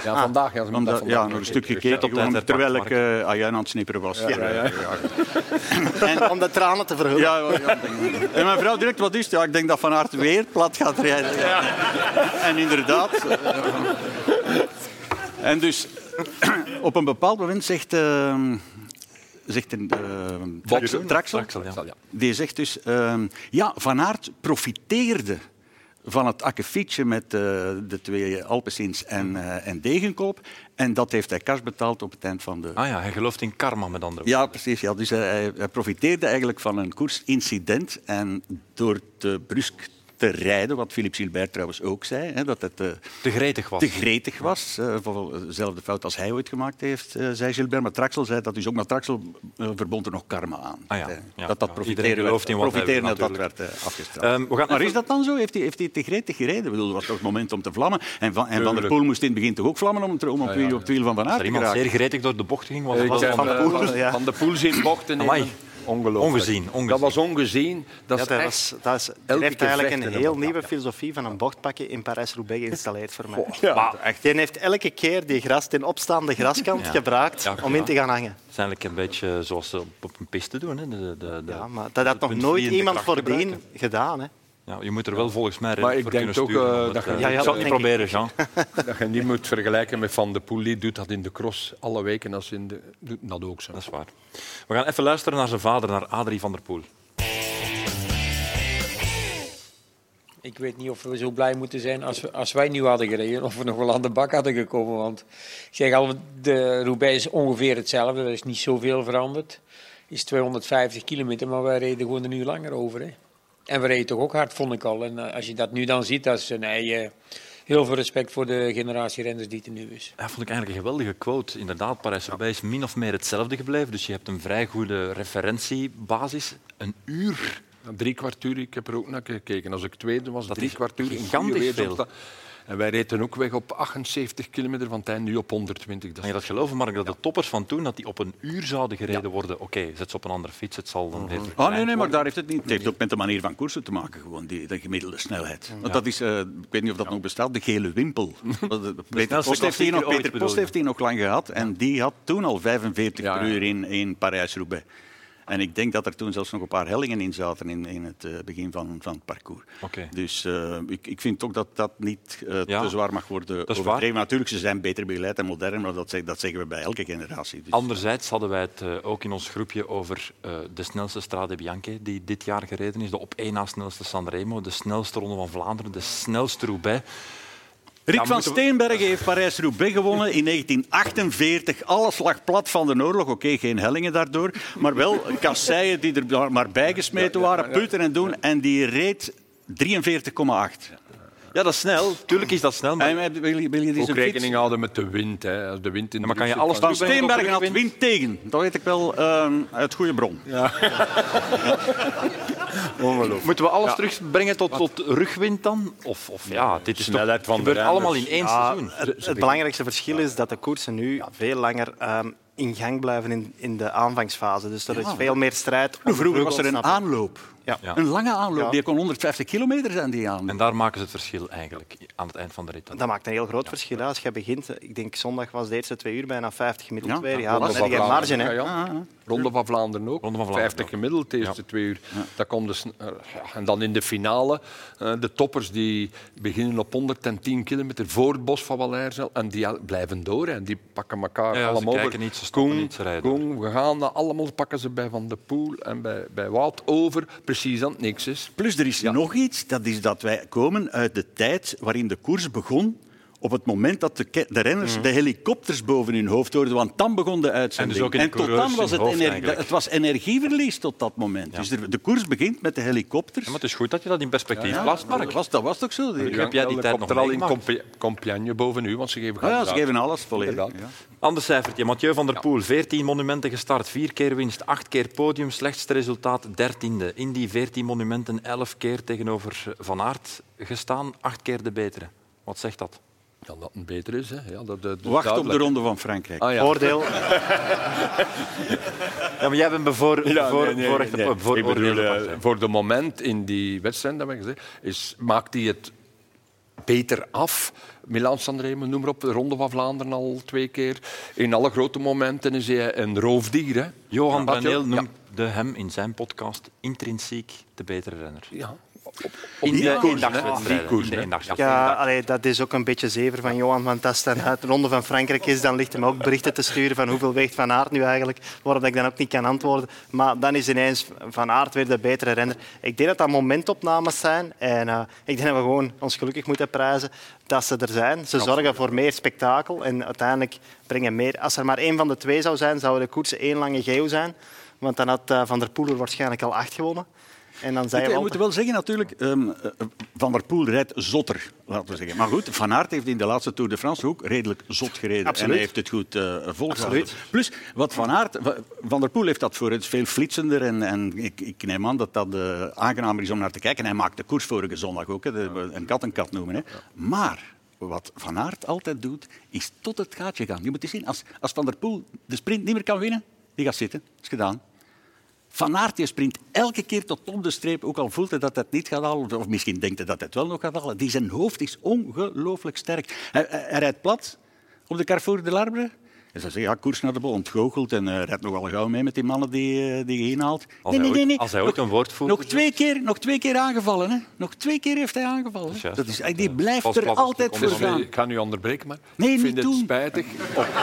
Ja, Ah, vandaag. Ja, ze moeten Vandaag- dat ja, nog vandaag een doen. stuk gekeken, op tijd, gewoon hè, terwijl Bart ik eh aan jou aan het snipperen was. Ja, ja, ja. om de tranen te verhullen? ja, ja. En mijn vrouw direct, wat is het? Ja, ik denk dat Van Aert weer plat gaat rijden. En inderdaad. eh, en dus, op een bepaald moment zegt, eh, zegt een, eh, Boxen. Traxel, Traxel, ja. Ja. Die zegt dus, ehm, ja, Van Aert profiteerde van het akkefietje met eh, de twee Alpecins en, eh, en Degenkoop. En dat heeft hij cash betaald op het eind van de... Ah ja, hij gelooft in karma met andere Ja, precies. Ja. Dus hij, hij- hij profiteerde eigenlijk van een koersincident. En door te brusk te rijden, wat Philippe Gilbert trouwens ook zei, hè, dat het... eh, woorden. Te gretig was. te gretig was. eh, vooral dezelfde fout als hij ooit gemaakt heeft, eh, zei Gilbert. Maar Traxel zei dat dus ook. Maar Traxel eh, verbond er nog karma aan. Ah ja, Eh, ja. Dat dat Ja, profiteren, iedereen gelooft in wat hij profiteren wil, dat dat werd eh, afgestraft. Ehm, we gaan maar even- is dat dan zo? Heeft hij, heeft hij te gretig gereden? Ik bedoel, er was toch het moment om te vlammen. En Van, en van der Tuurlijk. Poel moest in het begin toch ook vlammen om, te- om op, wiel- op het wiel van Van Als Aert er te iemand geraken. zeer gretig door de bocht ging, was Ik het wel zei, van de eh, poel. Poel, ja. Van de Poel zien bochten nemen. Amai. Ongelooflijk. Ongezien, ongezien. Dat was ongezien. Dat Ja, is dat echt- was, dat is, elke er heeft keer eigenlijk een vechten heel ervan, nieuwe filosofie van een bochtpakken in Parijs-Roubaix geïnstalleerd voor mij. Ja. Echt, die heeft elke keer die gras, den opstaande graskant Ja. gebruikt Ja, om in te gaan hangen. Het is eigenlijk een beetje zoals ze op op een piste doen. Hè. De, de, de- Ja, maar dat had nog punt nooit vliegende iemand kracht voordien gebruiken. gedaan. Hè. Ja, je moet er wel volgens mij Maar redelijk ik voor denk kunnen ook, sturen. eh, om het, dat je- eh, Ja, ja, ik zal het niet denk ik. proberen, Jean. Dat je niet moet vergelijken met Van de Poel. Die doet dat in de cross alle weken. Als in de, doet dat ook zo. Dat is waar. We gaan even luisteren naar zijn vader, naar Adrie van der Poel. Ik weet niet of we zo blij moeten zijn als, we- als wij nu hadden gereden. Of we nog wel aan de bak hadden gekomen. Want ik zeg al, de Roubaix is ongeveer hetzelfde. Er is niet zoveel veranderd. is 250 kilometer, maar wij reden gewoon een uur langer over. Hè. En we reden toch ook hard, vond ik al. En eh, als je dat nu dan ziet, dat is een, ei, eh, heel veel respect voor de generatie renners die er nu is. Dat vond ik eigenlijk een geweldige quote. Inderdaad, Parijs-Roubaix is min of meer hetzelfde gebleven. Dus je hebt een vrij goede referentiebasis. Een uur. Drie kwartuur, ik heb er ook naar gekeken. Als ik tweede was, Dat drie is kwartuur. in gigantisch goede weerstand. veel. En wij reden ook weg op 78 kilometer van het einde, nu op 120. Dat Kan is je dat geloven, Mark, dat de toppers van toen dat die op een uur zouden gereden worden? Oké, zet ze op een andere fiets, het zal Mhm. dan weer Oh nee, nee, maar daar heeft het niet. Het heeft ook met de manier van koersen te maken, gewoon die, de gemiddelde snelheid. Want dat is, eh, ik weet niet of dat nog bestaat, de gele wimpel. Dat- dat- Peter Post, klassieker heeft die, nog, ooit, Peter bedoel Post je? heeft die nog lang gehad en die had toen al 45 Ja, per ja. uur in, in Parijs-Roubaix. En ik denk dat er toen zelfs nog een paar hellingen in zaten in, in het eh, begin van, van het parcours. Oké. Dus eh, ik, ik vind ook dat dat niet eh, Ja. te zwaar mag worden Dat is waar. overdreven. Natuurlijk, ze zijn beter begeleid en modern, maar dat, zeg- dat zeggen we bij elke generatie. Dus- Anderzijds hadden wij het eh, ook in ons groepje over eh, de snelste Strade Bianche die dit jaar gereden is. De op één na snelste Sanremo, de snelste Ronde van Vlaanderen, de snelste Roubaix. Rick Ja, van moeten we- Steenbergen heeft Parijs-Roubaix gewonnen in 1948. Alles lag plat van de oorlog. Oké, geen hellingen daardoor. Maar wel kasseien die er maar bij gesmeten waren. Putten en doen. En die reed 43,8. Ja, dat is snel. Tuurlijk is dat snel, maar... En wil je, wil je die ook zijn fiets? rekening houden met de wind. Hè. Als de wind in de maar kan je wind zit, alles Van Steenbergen had wind tegen. Dat weet ik wel ehm, uit goede bron. Ongelooflijk. Moeten we alles terugbrengen tot, tot rugwind dan? Of, of ja, dit is toch, Snelheid van de gebeurt renners. allemaal in één Ja, seizoen. het, het belangrijkste verschil is dat de koersen nu veel langer ehm, in gang blijven in, in de aanvangsfase. Dus er is veel meer strijd. om de Vroeger was er vleugel een te snappen. aanloop. Ja. Ja. Een lange aanloop. Ja. Die kon 150 kilometer zijn, die aanloop. En daar maken ze het verschil eigenlijk aan het eind van de rit. Dat maakt een heel groot verschil. hè. Als je begint, eh, ik denk zondag was de eerste twee uur bijna 50 gemiddeld Ja, weer. ja, Ja, Ronde dan van heb je geen marge. Vlaanderen, Hè. ja, ja. Ah, Ronde van Vlaanderen ook. Ronde van Vlaanderen 50 ook. gemiddeld de eerste twee uur. Dat komt dus, eh, ja, en dan in de finale, eh, de toppers die beginnen op 110 kilometer voor het bos van Valairzeel. En die al- blijven door hè. en die pakken elkaar Ja, ja, ze allemaal over. kijken niet, ze stoppen Koen, niet, ze rijden Koen, we gaan dat allemaal pakken ze bij Van der Poel en bij, bij Wout over. Precies aan het niks is. Plus, er is nog iets, dat is dat wij komen uit de tijd waarin de koers begon op het moment dat de, ke- de renners Mhm. de helikopters boven hun hoofd hoorden, want dan begon de uitzending. En dus ook in de tot coureurs dan was hun het, hoofd energie- eigenlijk. het was energieverlies tot dat moment. Dus er- de koers begint met de helikopters. Ja, maar het is goed dat je dat in perspectief Ja, plaatst, Mark. dat, was, dat was toch zo? Die- heb jij die Er tijd komt nog er al in meegemaakt? Compi- Compiègne boven u, want ze geven Ah, gas ja, ze uit. geven alles volledig. Inderdaad. Ja. Ander cijfertje. Mathieu van der Poel, 14 monumenten gestart, 4 keer winst, 8 keer podium, slechtste resultaat 13e. In die 14 monumenten 11 keer tegenover Van Aert gestaan, 8 keer de betere. Wat zegt dat? Ja, dat een beter is. Hè. Ja, dat, dat, Wacht op de duidelijk. Ronde van Frankrijk. Ah, ja. Voordeel, Ja, maar jij bent bevoor, Ja, voor, nee, nee, voor, nee. Ik bedoel, eh, voor de moment in die wedstrijd, dat we gezegd, is, maakt hij het beter af. Milan Sanremo, noem maar op, de Ronde van Vlaanderen al twee keer. In alle grote momenten is hij een roofdier. Hè. Johan Mathieu? Bruneel noemt de hem in zijn podcast intrinsiek de betere renner. Ja. In die de koers, hè? eendagswedstrijden. Die koers, In de hè? eendagswedstrijden. ja, allee, dat is ook een beetje zever van Johan. Want als het dan uit de Ronde van Frankrijk is, dan ligt hem ook berichten te sturen van hoeveel weegt Van Aert nu eigenlijk. Waarop ik dan ook niet kan antwoorden. Maar dan is ineens Van Aert weer de betere renner. Ik denk dat dat momentopnames zijn. En eh, ik denk dat we gewoon ons gelukkig moeten prijzen dat ze er zijn. Ze zorgen voor meer spektakel. En uiteindelijk brengen meer... Als er maar één van de twee zou zijn, zou de koersen één lange geel zijn. Want dan had eh, Van der Poel er waarschijnlijk al acht gewonnen. En dan zijn Ik we moet altijd- wel zeggen natuurlijk, ehm, eh, Van der Poel rijdt zotter, laten we zeggen. Maar goed, Van Aert heeft in de laatste Tour de France ook redelijk zot gereden. Absoluut. En hij heeft het goed eh volgehouden. Absoluut. Plus, wat Van Aert... wa- Van der Poel heeft dat voor het veel flitsender. En, en ik, ik neem aan dat dat eh, aangenamer is om naar te kijken. En hij maakt de koers vorige zondag ook. Hè, de- een kat een kat noemen. Hè. Maar... Wat Van Aert altijd doet, is tot het gaatje gaan. Je moet eens zien, als, als Van der Poel de sprint niet meer kan winnen, die gaat zitten. is gedaan. Van Aert die sprint elke keer tot op de streep, ook al voelt hij dat hij het niet gaat halen, of misschien denkt hij dat hij het wel nog gaat halen. Die zijn hoofd is ongelooflijk sterk. Hij, hij- hij rijdt plat op de Carrefour de Larbre. En ze zeggen, ja, koers naar de bol, ontgoocheld en eh, rijdt nogal gauw mee met die mannen die, eh, die je inhaalt. Als hij ooit- als hij ooit Nog- een woordvoerder Nog twee keer, nog twee keer aangevallen, hè. Nog twee keer heeft hij aangevallen. hè. juist. Dat is, die blijft Pas er plat op de altijd voor Dus, eh, gaan. ik ga nu onderbreken, maar Nee, ik vind niet het doen. spijtig op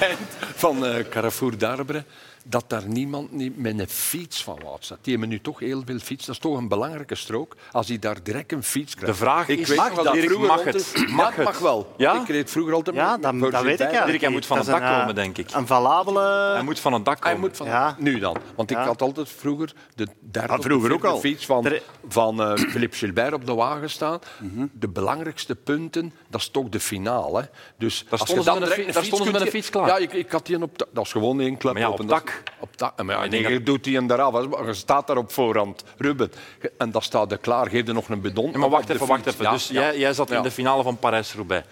eind van eh, Carrefour d'Arbre dat daar niemand niet met een fiets van Wout staat. Die hebben nu toch heel veel fiets. Dat is toch een belangrijke strook als hij daar direct een fiets krijgt. De vraag ik is, weet mag nog wel dat? Dirk Mag rond het? is. Mag Ja, het het? mag wel. Ja? Ik reed vroeger altijd Ja, met- dat, voor dat weet ik Sint-Eyden. eigenlijk. Hij moet van Dat het is dak een, eh, komen, denk ik. Een valabele... Hij moet van het dak komen. Hij moet van Ja. nu dan. Want ik Ja. had altijd vroeger de derde Ah, of de vroeger vierde ook al. fiets van, Er- van eh, Philippe Gilbert op de wagen staan. Mhm. De belangrijkste punten, dat is toch de finale. hè. Dus als je stonden ze dan met een direct fi- daar stonden ze kunt met een ge- fiets klaar. Ja, ik, ik had die een op ta- dat is gewoon één klep Maar ja, op en dak. dat is- Op dak. Maar ja, Ik denk nee, je doet die en eraf. hè. Maar Je staat daar op voorhand, Ruben. Ge- En dat staat er klaar. Geef er nog een bidon. Ja, maar op wacht de even, wacht fiets. even. Ja, dus ja. Jij, jij zat Ja. in de finale van Parijs-Roubaix.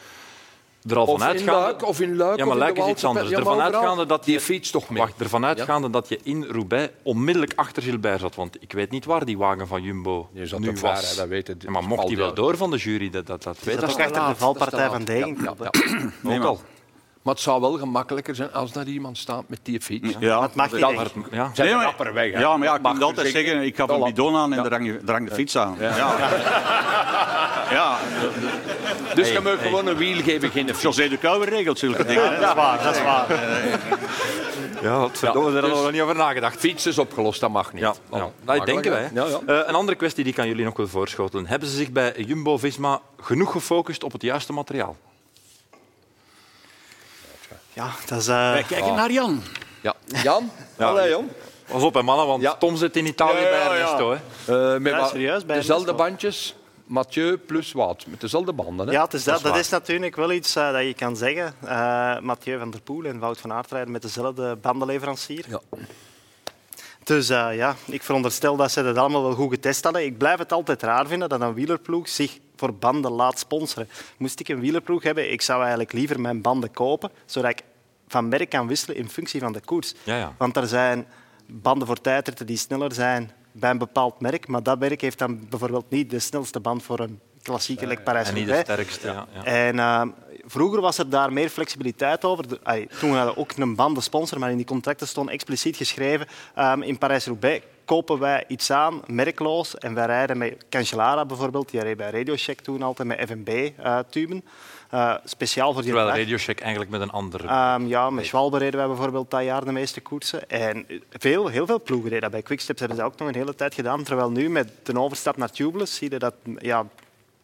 Er al Of van in uitgaande... Luik, of in Luik, Ja, of maar in Luik de is iets Waalse anders. Pe- ja, Ervan maar overal, uitgaande dat die je- fiets toch mee. Wacht, ervan uitgaande dat je in Roubaix onmiddellijk achter Gilbert zat. Want ik weet niet waar die wagen van Jumbo Die zat nu te ver, was. hè, dat weet het. Ja, maar mocht Valt die die wel uit. door van de jury? Dat, dat, dat weet Dat is dat ook achter de valpartij van Degen. Ja, ja. ook al. Maar het zou wel gemakkelijker zijn als daar iemand staat met die fiets. Ja, Dat mag niet. dat- echt. Ja. Zijn Nee, er maar- rapper weg, hè? ja, maar ja, ik Mag moet altijd verzekeren. zeggen, ik gaf Dat een laat- bidon aan en daar drang, drang de fiets aan. Ja. Ja. Dus je mag gewoon een wiel geven, geen fiets. José de Kouwer regelt zulke dingen. hè. Dat is waar, dat is waar. Ja, wat verdomme, daar dus- hadden we nog niet over nagedacht. Fiets is opgelost, dat mag niet. Ja, Nou, ja. dat makkelijk, denken wij. hè? Ja, ja. Eh, een andere kwestie die ik aan jullie nog wil voorschotelen. Hebben ze zich bij Jumbo-Visma genoeg gefocust op het juiste materiaal? Ja, dat is... eh, Wij kijken naar Jan. Ja. Jan? Allee, Jan. Pas op, hè, mannen, want Ja. Tom zit in Italië Ja, ja, bij Ernesto. Hè. Eh, met Ja, wa- serieus, bij Dezelfde Ernesto. bandjes, Mathieu plus Wout. Met dezelfde banden. Hè? Ja, het is dat, dat waar. is natuurlijk wel iets eh, dat je kan zeggen. Eh, Mathieu van der Poel en Wout van Aert rijden met dezelfde bandenleverancier. Ja. Het Dus eh, ja, ik veronderstel dat ze dat allemaal wel goed getest hadden. Ik blijf het altijd raar vinden dat een wielerploeg zich voor banden laat sponsoren. Moest ik een wielerploeg hebben, ik zou eigenlijk liever mijn banden kopen, zodat ik van merk kan wisselen in functie van de koers. Ja, ja. Want er zijn banden voor tijdritten die sneller zijn bij een bepaald merk, maar dat merk heeft dan bijvoorbeeld niet de snelste band voor een klassieke lek parijs En niet de sterkste. Ja. Ja. en eh, vroeger was er daar meer flexibiliteit over. De- ai, toen hadden we ook een bandensponsor, maar in die contracten stond expliciet geschreven ehm, in Parijs-Roubaix kopen wij iets aan, merkloos, en wij rijden met Cancellara bijvoorbeeld, die reed bij Radiocheck toen altijd met FNB-tuben, eh, speciaal voor die Terwijl dag. Radiocheck eigenlijk met een andere... Ehm, ja, met Schwalbe reden wij bijvoorbeeld dat jaar de meeste koersen. En veel, heel veel ploegen deden dat. Bij Quicksteps hebben ze dat ook nog een hele tijd gedaan. Terwijl nu met de overstap naar Tubeless zie je dat ja,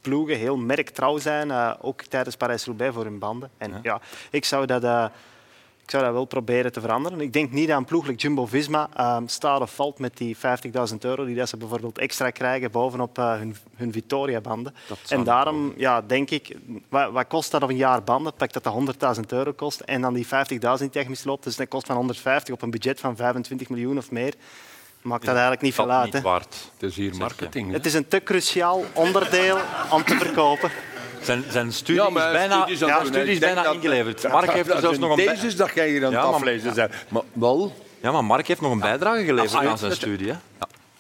ploegen heel merktrouw zijn. eh, ook tijdens Parijs-Roubaix voor hun banden. En ja, ik zou dat... eh, ik zou dat wel proberen te veranderen. Ik denk niet dat een ploeg like Jumbo-Visma ehm, staat of valt met die 50.000 euro die dat ze bijvoorbeeld extra krijgen bovenop eh, hun, hun Vittoria-banden. En daarom ja, denk ik, wat, wat kost dat op een jaar banden? Pak dat dat 100.000 euro kost en dan die 50.000 die je misloopt. Dus dat kost van 150 op een budget van 25 miljoen of meer. Maakt dat eigenlijk niet dat veel uit. niet hè. waard. Het is hier marketing. hè. Het is een te cruciaal onderdeel om te verkopen. Zijn, zijn studie Ja, maar is bijna, studies aan ja, doen, hè. studie is Ik denk bijna dat- ingeleverd. Mark heeft er zelfs nog een... bij- Deze dat jij hier aan het Ja, maar- aflezen zijn. Maar wel, Ja, maar Mark heeft nog een bijdrage geleverd Absoluut. aan zijn studie. Hè?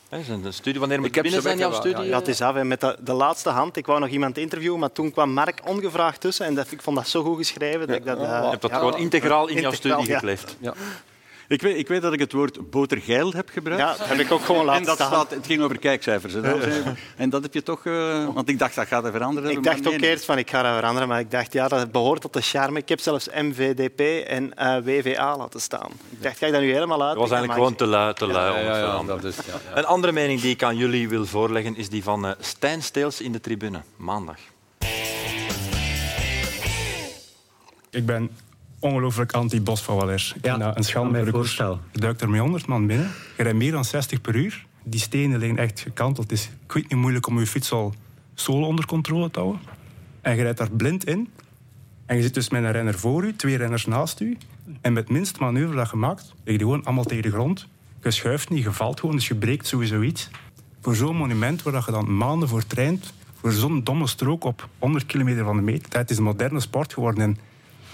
Hè, zijn studie, wanneer moet Ik heb binnen ze zijn, jouw weggelaten, ja, studie? Ja, het is af. hè. Met de, de laatste hand. Ik wou nog iemand interviewen, maar toen kwam Mark ongevraagd tussen. En dat, ik vond dat zo goed geschreven. Dat ik dat, eh, Je hebt dat ja. gewoon integraal in jouw Integraal, studie ja. gekleefd. Ik weet, ik weet dat ik het woord botergeil heb gebruikt. Ja, dat heb ik ook gewoon laten En dat staan. staat, het ging over kijkcijfers. hè, dames en heren. En dat heb je toch... eh, want ik dacht, dat gaat er veranderen. Ik maar dacht nee, ook nee. eerst van ik ga dat veranderen, maar ik dacht ja, dat behoort tot de charme. Ik heb zelfs MVDP en eh, WVA laten staan. Ik dacht, ga ik dat nu helemaal uit? Dat was eigenlijk gewoon te lui, te lui om ja, het ja, te ja, veranderen. dat is, ja, ja. Een andere mening die ik aan jullie wil voorleggen is die van eh, Stijn Steels in de tribune, maandag. Ik ben ongelooflijk anti-Bos van Wallers. Ja, een schande voor de koers. Je duikt er met 100 man binnen. Je rijdt meer dan 60 per uur. Die stenen liggen echt gekanteld. Het is ik weet niet moeilijk om je fiets al solo onder controle te houden. En je rijdt daar blind in. En je zit dus met een renner voor u, twee renners naast u. En met het minst manoeuvre dat je maakt, liggen die gewoon allemaal tegen de grond. Je schuift niet, je valt gewoon, dus je breekt sowieso iets. Voor zo'n monument waar dat je dan maanden voor traint, voor zo'n domme strook op 100 kilometer van de meter, dat is een moderne sport geworden. En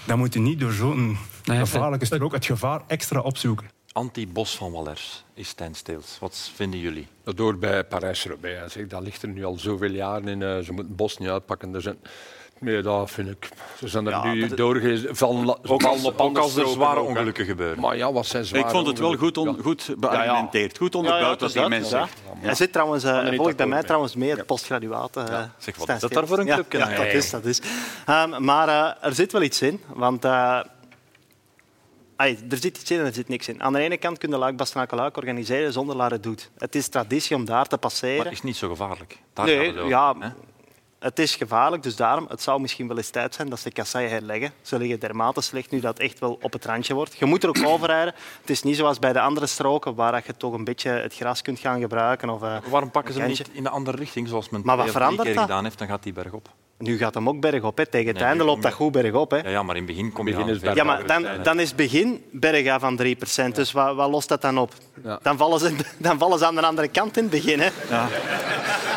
dan moet je niet door zo'n gevaarlijke strook het gevaar extra opzoeken. Anti-Bos van Wallers is Stijn Steels. Wat vinden jullie? Dat hoort bij Parijs-Roubaix. Hij zegt, Dat ligt er nu al zoveel jaren in. eh, Ze moeten het bos niet uitpakken. Er zijn... Nee, dat vind ik. Ze zijn er nu doorgegaan. Van, la- Ook van als, op ook andere als er stroken zware ook, hè. ongelukken gebeuren. Maar ja, wat zijn zware Ik vond het wel goed, on- ongelukken? goed beargumenteerd. Goed onderbouwd was die mensen. Hij zit trouwens, eh, hij volgt bij mij mee. trouwens mee, het postgraduaat. eh, Zeg, wat Stijn is dat daar voor een Steels. clubje Ja, ja, dat eigenlijk? is, dat is. Ehm, maar eh, er zit wel iets in, want... eh, ai, er zit iets in en er zit niks in. Aan de ene kant kunnen Luik Bastenaken Luik organiseren zonder Lare Doet. Het is traditie om daar te Maar passeren. het is niet zo gevaarlijk. Daar Nee, gaat het over, ja. hè? Het is gevaarlijk, dus daarom, het zou misschien wel eens tijd zijn dat ze kasseien herleggen. Ze liggen dermate slecht nu dat het echt wel op het randje wordt. Je moet er ook overrijden. Het is niet zoals bij de andere stroken waar je toch een beetje het gras kunt gaan gebruiken. Of, eh, Waarom pakken ze een hem kantje. niet in de andere richting, zoals men Maar wat twee of drie verandert keer dat? gedaan heeft? Dan gaat die berg op. Nu gaat hem ook bergop. Hè. Tegen het Nee, einde nu loopt kom dat je- goed bergop. Hè. Ja, ja maar in het begin kom je Begin aan is veel Ja, bergop. maar dan, eh, dan is het begin berga van 3%. Dus wat, wat lost dat dan op? Dan, vallen ze, dan vallen ze aan de andere kant in het begin. Hè.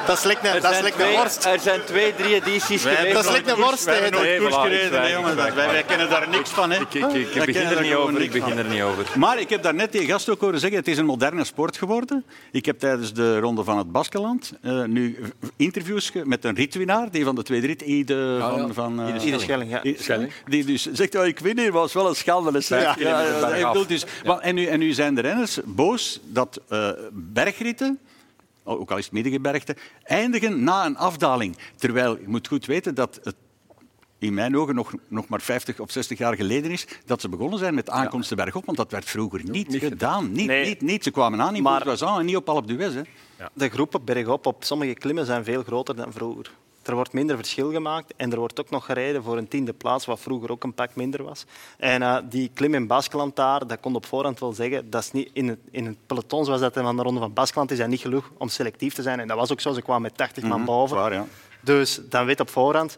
Dat is lekker dat is lekker een worst. er zijn twee, drie edities geweest. Dat is lekker een worst. hè. Nooit koers gereden, hè, jongen. Dat- Wij, wij kennen daar niks van. Hè. Ik, ik, ik Wij begin kennen er daar niet gewoon over. Ik niks van. begin er niet over. Maar ik heb daarnet die gast ook horen zeggen, het is een moderne sport geworden. Ik heb tijdens de Ronde van het Baskeland eh, nu interviews ge- met een ritwinnaar, die van de tweede rit, Ide Ah, ja. van... van eh, Ieder Schelling, ja. Ide Schelling. Die dus zegt, oh, ik win hier, was wel een schande. dat is echt- Ja. ja, ja, ik bedoel, dus, want- en, nu, en nu zijn de renners boos dat eh, bergritten... Ook al is het middengebergte, eindigen na een afdaling. Terwijl je moet goed weten dat het in mijn ogen nog, nog maar 50 of 60 jaar geleden is dat ze begonnen zijn met aankomsten bergop, want dat werd vroeger niet, gedaan. Niet, Nee. niet, niet. Ze kwamen aan in Maar- Bourgois en niet op Alpe d'Huez. hè. De groepen bergop op sommige klimmen zijn veel groter dan vroeger. Er wordt minder verschil gemaakt en er wordt ook nog gereden voor een tiende plaats, wat vroeger ook een pak minder was. En eh, die klim in Baskeland daar, dat kon op voorhand wel zeggen, dat is niet in, het, in het peloton zoals dat van de Ronde van Baskeland is, dat niet genoeg om Mhm, selectief te zijn. En dat was ook zo, ze kwamen met 80 man boven. Waar, ja. Dus dan weet op voorhand,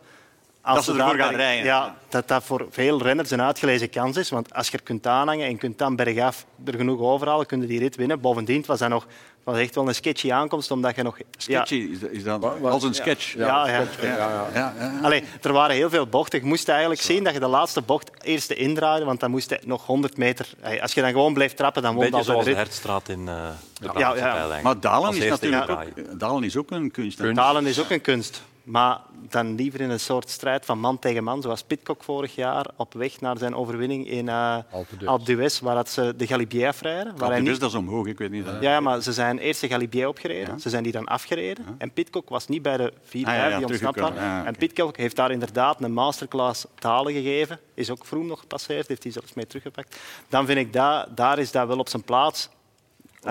als Dat ze ervoor daar gaan berg- rijden. Ja, dat dat voor veel renners een uitgelezen kans is. Want als je er kunt aanhangen en kunt dan bergaf er genoeg overhalen, kun je die rit winnen. Bovendien het was dat nog was echt wel een sketchy aankomst, omdat je nog... Sketchy is, dat- is dat als een sketch. Ja, ja, ja. Ja, ja. Allee, er waren heel veel bochten. Je moest eigenlijk zien dat je de laatste bocht eerst indraaide, want dan moest je nog 100 meter... Allee, Als je dan gewoon blijft trappen, dan won beetje dat de zoals de rit. hertstraat in eh de ja. Brabantse Pijl eigenlijk. Maar Dalen Als is eerste natuurlijk in de Braai. ook, Dalen is ook een kunst. hè. Talen is ook een kunst. Maar dan liever in een soort strijd van man tegen man, zoals Pitcock vorig jaar op weg naar zijn overwinning in eh Alpe d'Huez. Alpe d'Huez, waar dat ze de Galibier afrijden. Waar hij Dus niet... dat is omhoog, ik weet niet. Ja, ja, maar ze zijn eerst de Galibier opgereden, ze zijn die dan afgereden. En Pitcock was niet bij de vier, Ah, ja, vijf ja, die ontsnapt teruggekomen. waren. Ja, oké. En Pitcock heeft daar inderdaad een masterclass talen gegeven. Is ook vroeg nog gepasseerd, heeft hij zelfs mee teruggepakt. Dan vind ik dat, daar is dat wel op zijn plaats.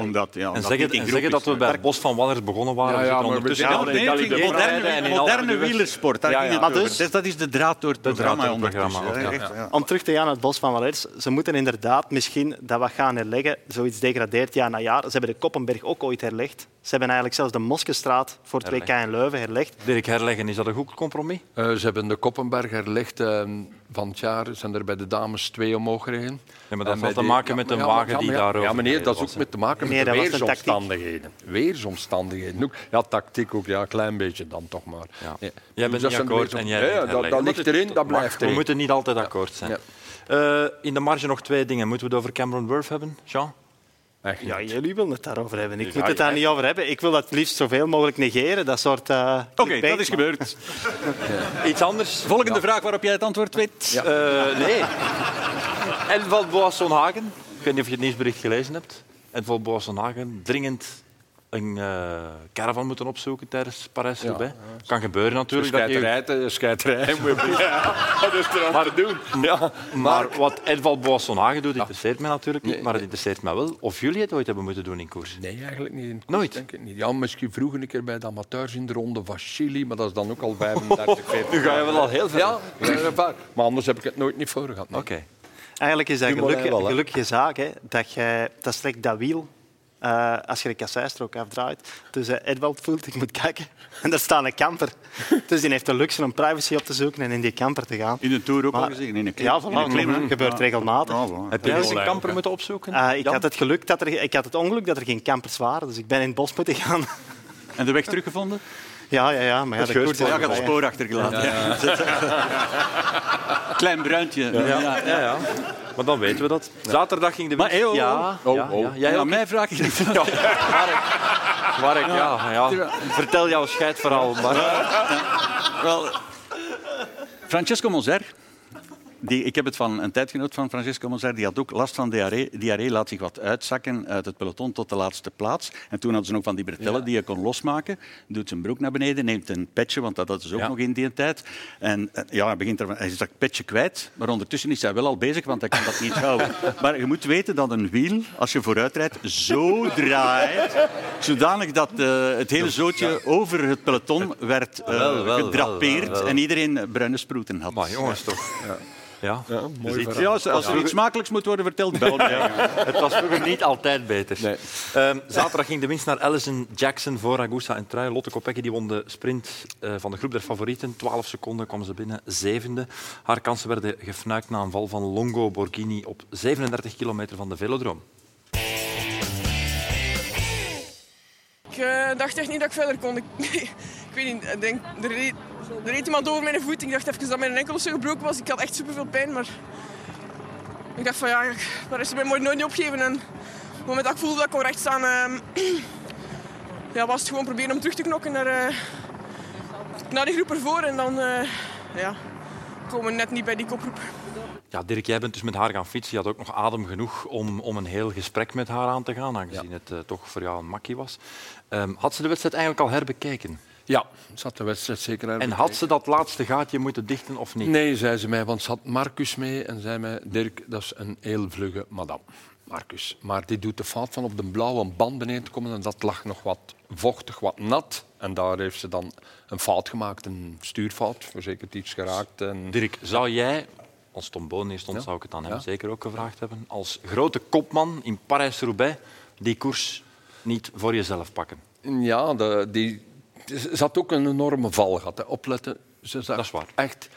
Omdat, ja, En omdat zeggen, dit in en groep zeggen is. dat we bij het Bos van Wallers begonnen waren. Ja, we ja, zitten maar we ondertussen zitten al al in de in Cali de moderne, Braai en in Alpe moderne d'Huez. wielersport. Daar Ja, ging ja. het Maar over. dus- Dus dat is de draad door het programma draad door het ondertussen. programma, hè. Echt, ja. Om terug te gaan naar het Bos van Valers. Ze moeten inderdaad misschien dat wat gaan herleggen. Zoiets degradeert jaar na jaar. Ze hebben de Koppenberg ook ooit herlegd. Ze hebben eigenlijk zelfs de Moskestraat voor het WK in Leuven herlegd. Dirk Herleggen, is dat een goed compromis? Eh, ze hebben de Koppenberg herlegd eh, van het jaar. Zijn er bij de dames twee omhoog gereden. Ja, maar En dat bij had te die- maken ja, met maar een ja, wagen ja, die maar ja. daarover Ja, meneer, dat is gereden ook was, met te maken met Nee, de dat was een tactiek. weersomstandigheden. Weersomstandigheden. Ook, ja, tactiek ook, ja, een klein beetje dan toch maar. Ja. Nee. Jij bent Dat niet zijn akkoord weersom- en jij Ja, bent ja, dat, herleggen. dat ligt erin, dat blijft We erin. moeten niet altijd akkoord zijn. Ja. Eh, in de marge nog twee dingen. Moeten we het over Cameron Worth hebben, Jean? Echt niet. Ja, jullie willen het daarover hebben. Ik moet het daar niet over hebben. Ik wil dat het liefst zoveel mogelijk negeren. Dat soort... eh, Oké, clickbait. dat is gebeurd. Iets anders? Volgende vraag waarop jij het antwoord weet. Eh, nee. En van Boasson Hagen. Ik weet niet of je het nieuwsbericht gelezen hebt. En van Boasson Hagen dringend een eh caravan moeten opzoeken tijdens Parijs-Roubaix. Kan gebeuren natuurlijk. Dat je Scheiderij, eh, scheiderij. moet je- maar, doen. maar, wat Edval Boasson Hagen doet, interesseert mij natuurlijk niet. Maar het interesseert mij wel of jullie het ooit hebben moeten doen in koers. Nee, eigenlijk niet. in het Nooit? koers, Denk ik niet. Ja, misschien vroeger een keer bij de amateurs in de ronde van Chili, maar dat is dan ook al 35, 40 Nu ga je wel al heel veel. Ja, eh, vaak. maar anders heb ik het nooit niet voor gehad. nee. Oké. Eigenlijk is dat Dumoulin gelukkig, wel, hè? gelukkige zaak. Hè, dat, je, dat is slecht dat wiel eh, als je de kasseistrook afdraait. Dus eh, Edwald voelt, ik moet kijken. En daar staat een camper. Dus die heeft de luxe om privacy op te zoeken en in die camper te gaan. In de Tour ook Maar- al gezien. In een klim. Ja, in een voilà, klim, hè. dat gebeurt regelmatig. Ja, voilà. Heb jij eens een kamper moeten opzoeken? Ah, ik, Jan? had het geluk dat er, ik had het ongeluk dat er geen campers waren, dus ik ben in het bos moeten gaan. En de weg teruggevonden? Ja, ja, ja. Maar ja, de koers is Ja, ik had het voorbij. spoor achtergelaten. ja. Klein bruintje. Ja. Ja, ja. Maar dan weten we dat. Zaterdag ging de Maar hey, oh, Ja, oh, ja, oh. ja. Jij Ja, ook? mij vraag je niet. Mark, ja, ja. Vertel jouw scheidverhaal, Mark. Wel, Francesco Moser. Die, ik heb het van een tijdgenoot van Francesco Moser. Die had ook last van diarree. Diarree laat zich wat uitzakken uit het peloton tot de laatste plaats. En toen hadden ze nog van die bretellen die je kon losmaken. Doet zijn broek naar beneden, neemt een petje, want dat hadden ze ook nog in die tijd. En eh, ja, hij, begint er, hij is dat petje kwijt. Maar ondertussen is hij wel al bezig, want hij kan dat niet houden. Maar je moet weten dat een wiel, als je vooruit rijdt, zo draait. Zodanig dat eh, het hele zootje over het peloton werd eh, Wel, wel, wel, gedrapeerd. wel, wel. En iedereen bruine sproeten had. Maar jongens, toch. Ja. Dus iets- ja, als, als er iets smakelijks moet worden verteld, bel mij. Het was vroeger niet altijd beter. Ehm, zaterdag ging de winst naar Allison Jackson voor Agusa en Trui. Lotte Kopecky die won de sprint eh, van de groep der favorieten. 12 seconden kwam ze binnen, zevende. Haar kansen werden gefnuikt na een val van Longo Borghini op 37 kilometer van de velodroom. Ik eh, dacht echt niet dat ik verder kon. Ik, ik weet niet, ik denk, er, reed, er reed iemand over mijn voet. Ik dacht even dat mijn enkel of zo gebroken was. Ik had echt superveel pijn, maar ik dacht van ja, ik- daar is mij nooit niet opgeven. En op het moment dat ik voelde dat ik kon rechtstaan, staan, ja, was het gewoon proberen om terug te knokken naar, eh, naar die groep ervoor. En dan eh, ja, komen we net niet bij die kopgroep. Ja, Dirk, jij bent dus met haar gaan fietsen. Je had ook nog adem genoeg om, om een heel gesprek met haar aan te gaan, aangezien het eh, toch voor jou een makkie was. Ehm, had ze de wedstrijd eigenlijk al herbekeken? Ja, zat de wedstrijd zeker aan. En had ze dat laatste gaatje moeten dichten of niet? Nee, zei ze mij, want ze had Marcus mee en zei mij, Dirk, dat is een heel vlugge madame. Marcus. Maar die doet de fout van op de blauwe band beneden te komen en dat lag nog wat vochtig, wat nat. En daar heeft ze dan een fout gemaakt, een stuurfout, verzekerd iets geraakt. En... Dirk, zou jij, als Tom Boon hier stond, Ja. zou ik het aan hem Ja. zeker ook gevraagd hebben, als grote kopman in Parijs-Roubaix die koers niet voor jezelf pakken? Ja, de, die ze had ook een enorme val gehad. Hè. Opletten, Ze zag Dat is waar. echt...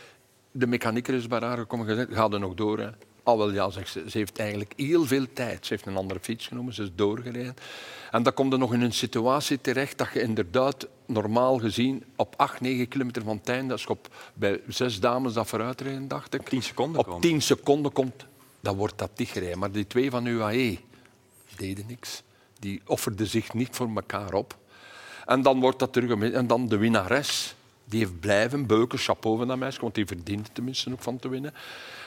De mechanieker is bij haar gekomen en gezegd, ga er nog door. Hè. Ah wel, ja, zegt ze. Ze heeft eigenlijk heel veel tijd. Ze heeft een andere fiets genomen, ze is doorgereden. En dan komt er nog in een situatie terecht dat je inderdaad normaal gezien op 8, 9 kilometer van het einde, als je op, bij zes dames dat vooruit rijden, dacht ik, 10 seconden op komen. 10 seconden komt, dan wordt dat dichtgereden. Maar die twee van UAE deden niks. Die offerden zich niet voor elkaar op. En dan wordt dat terug... gemi- En dan de winnares. Die heeft blijven beuken. Chapeau van dat meisje, want die verdient het tenminste ook van te winnen.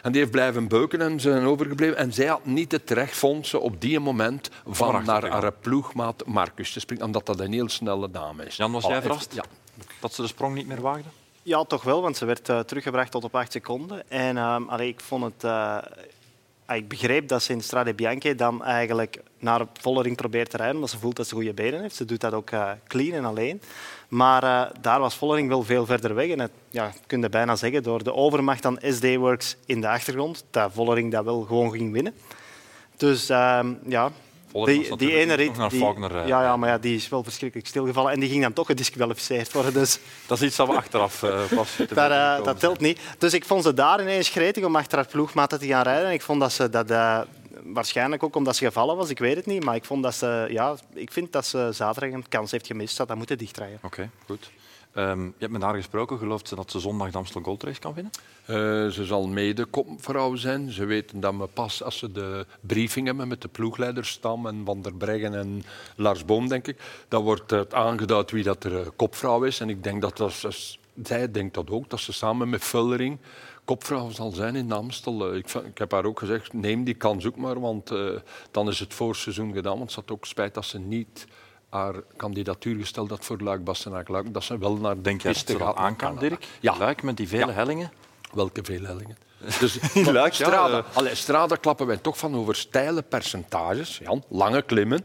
En die heeft blijven beuken en ze zijn overgebleven. En zij had niet het recht, vond ze, op die moment van erachter te naar gaan. haar ploegmaat Marcus te springen. Omdat dat een heel snelle dame is. Jan, was Al jij even- verrast? Ja. Dat ze de sprong niet meer waagden? Ja, toch wel, want ze werd eh, teruggebracht tot op 8 seconden. En ehm, allee, ik vond het. eh, ah, ik begreep dat ze in Strade Bianche dan eigenlijk naar volle ring probeert te rijden, omdat ze voelt dat ze goede benen heeft. Ze doet dat ook eh, clean en alleen. Maar eh, daar was volle ring wel veel verder weg. En het, ja, je kunt het bijna zeggen, door de overmacht aan SD Works in de achtergrond, dat volle ring dat wel gewoon ging winnen. Dus ehm, ja, Vollering was die, natuurlijk die ene nog rit... naar die- Faulkner, eh, ja, ja, maar ja, die is wel verschrikkelijk stilgevallen. En die ging dan toch gedisqualificeerd worden. Dus Dat is iets dat we achteraf eh, pas te dat, weten eh, gekomen dat telt niet. Dus ik vond ze daar ineens gretig om achter haar ploegmaten te gaan rijden. En ik vond dat ze dat... eh, Waarschijnlijk ook omdat ze gevallen was, ik weet het niet. Maar ik, vond dat ze, ja, ik vind dat ze zaterdag een kans heeft gemist. Dat dat moeten dichtrijden. Oké, goed. Ehm, je hebt met haar gesproken. Gelooft ze dat ze zondag de Amstel Gold Race kan winnen? Eh, ze zal mede kopvrouw zijn. Ze weten dat we pas als ze de briefing hebben met de ploegleiders Stam en Van der Breggen en Lars Boom, denk ik, dan wordt het aangeduid wie dat er eh, kopvrouw is. En ik denk dat dat, dat- zij denkt dat ook, dat ze samen met Vullering kopvrouw zal zijn in de Amstel. Eh, Ik, vind- ik heb haar ook gezegd, neem die kans ook maar, want eh, dan is het voorseizoen gedaan. Want ze had ook spijt dat ze niet haar kandidatuur gesteld had voor Luik, Bastenaak, Luik. Dat ze wel naar Denk jij dat piste ze dat gaat aan met kan, Canada. Dirk? Ja. Luik met die vele hellingen. Welke veel hellingen? Dus Luik, ja, Strada. eh. Allee, Strada klappen wij toch van over steile percentages. Jan, lange klimmen.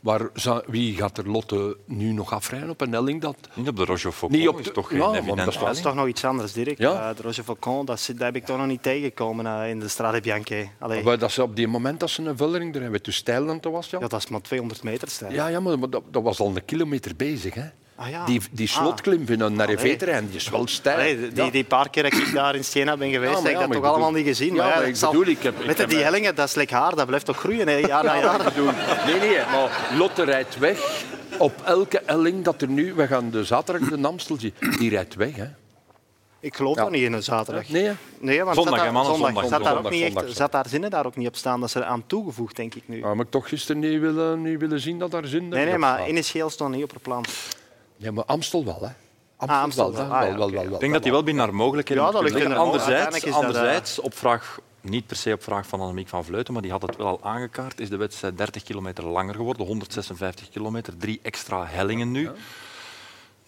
Waar za- wie gaat er Lotte nu nog afrijden op een helling? Dat, Niet op de Rochefoucauld. Niet op is de- toch geen Ja, want evidente dat is wel- Dat is helling? toch nog iets anders, Dirk. Ja. Eh, de Roger Faucon, dat, zit- dat heb ik toch nog niet tegengekomen eh, in de Strade Bianche. Allee, waar dat ze op die moment dat ze een vullering erin hebben, toen steil aan het was, Jan. ja, dat is maar 200 meter stijl. Ja, ja maar dat, dat was al een kilometer bezig. Hè. Ah, ja. Die, die slotklim van een Narrevee-terrein, die is wel steil. Allee, die- die, Ja. die paar keer dat ik daar in Siena ben geweest, Ja, maar ja, heb ik dat maar toch ik allemaal bedoel- niet Ja, gezien. Maar maar dat ik zal- bedoel, ik heb- ik Weet je, heb die mij- hellingen, dat is lekker haar, dat blijft toch groeien, hè, nou jaar na jaar. doen. Nee, nee, maar Lotte rijdt weg. Op elke elling dat er nu... We gaan de zaterdag de Amstel zien. Die rijdt weg, hè. Ik geloof Ja. dat niet in een zaterdag. Nee, hè. Nee, want Zondag, zat hè, daar, mannen, zondag, zondag, zat daar ook zondag, niet echt, zondag. Oh. zat daar zinnen daar ook niet op staan. Dat is er aan toegevoegd, denk ik nu. Ja, Nou, maar ik toch gisteren niet willen, niet willen zien dat daar zin Nee, nee, op maar staat. initieel stond niet op haar plan. Ja, maar Amstel wel, hè. Ah, Amstel wel, wel. hè. Ah, wel, ja, wel, oké. wel, wel. Ik denk dat die wel binnen haar mogelijkheden Ja, dat moet kunnen ligt liggen. in haar mogelijkheden. Anderzijds, Uiteindelijk eh, anderzijds op vraag, niet per se op vraag van Annemiek van Vleuten, maar die had het wel al aangekaart, is de wedstrijd 30 kilometer langer geworden. 156 kilometer, drie extra hellingen nu.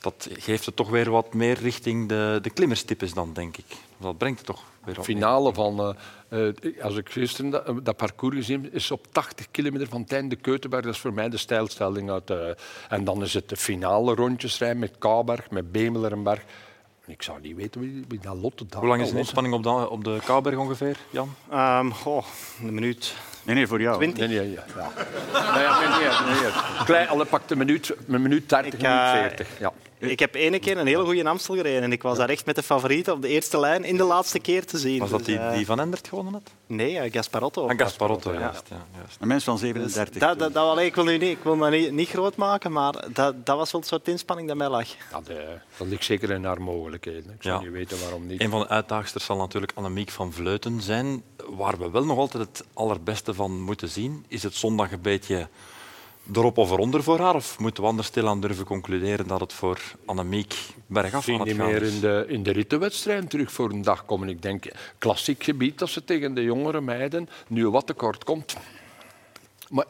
Dat geeft het toch weer wat meer richting de, de klimmerstippes dan, denk ik. Dat brengt het toch weer op. finale van... eh, eh, als ik gisteren dat, dat parcours gezien heb, is op 80 kilometer van het einde Keutenberg. Dat is voor mij de stijlstelling. Uit, eh, en dan is het de finale rondjes rijden met Kaaberg, met Bemelenberg. Ik zou niet weten wie, wie dat Lotte daar... Hoe lang is al de was. inspanning op de, op de Kouberg ongeveer, Jan? Ehm, goh, een minuut. Nee, nee, voor jou. Twintig? Nee, nee, ja. ja. nee, ja, nee, nee, nee, nee. Klein, alle pakt een minuut, een minuut 30, Ik, minuut eh, 40. Ja. Ik heb ene keer een hele goede Amstel gereden en ik was daar echt met de favorieten op de eerste lijn in de laatste keer te zien. Was dat Dus, die, eh, die Van Endert gewonnen had? Nee, eh, Gasparotto. Ah, Aan Gasparotto, juist. Ja, juist. Een mens van Dus 37. dat, dat, dat, allee, ik wil nu niet, ik wil me niet, niet groot maken, maar dat, dat was wel het soort inspanning dat mij lag. Ja, de- eh, dat ligt zeker in haar mogelijkheden. Ik zou Ja. niet weten waarom niet. Een van de uitdagsters zal natuurlijk Annemiek van Vleuten zijn. Waar we wel nog altijd het allerbeste van moeten zien, is het zondag een beetje erop of eronder voor haar? Of moeten we anders stilaan durven concluderen dat het voor Annemiek bergaf Misschien aan het niet gaan meer is? in de, in de rittenwedstrijd terug voor een dag komen. Ik denk, klassiek gebied dat ze tegen de jongere meiden nu wat tekort komt. Maar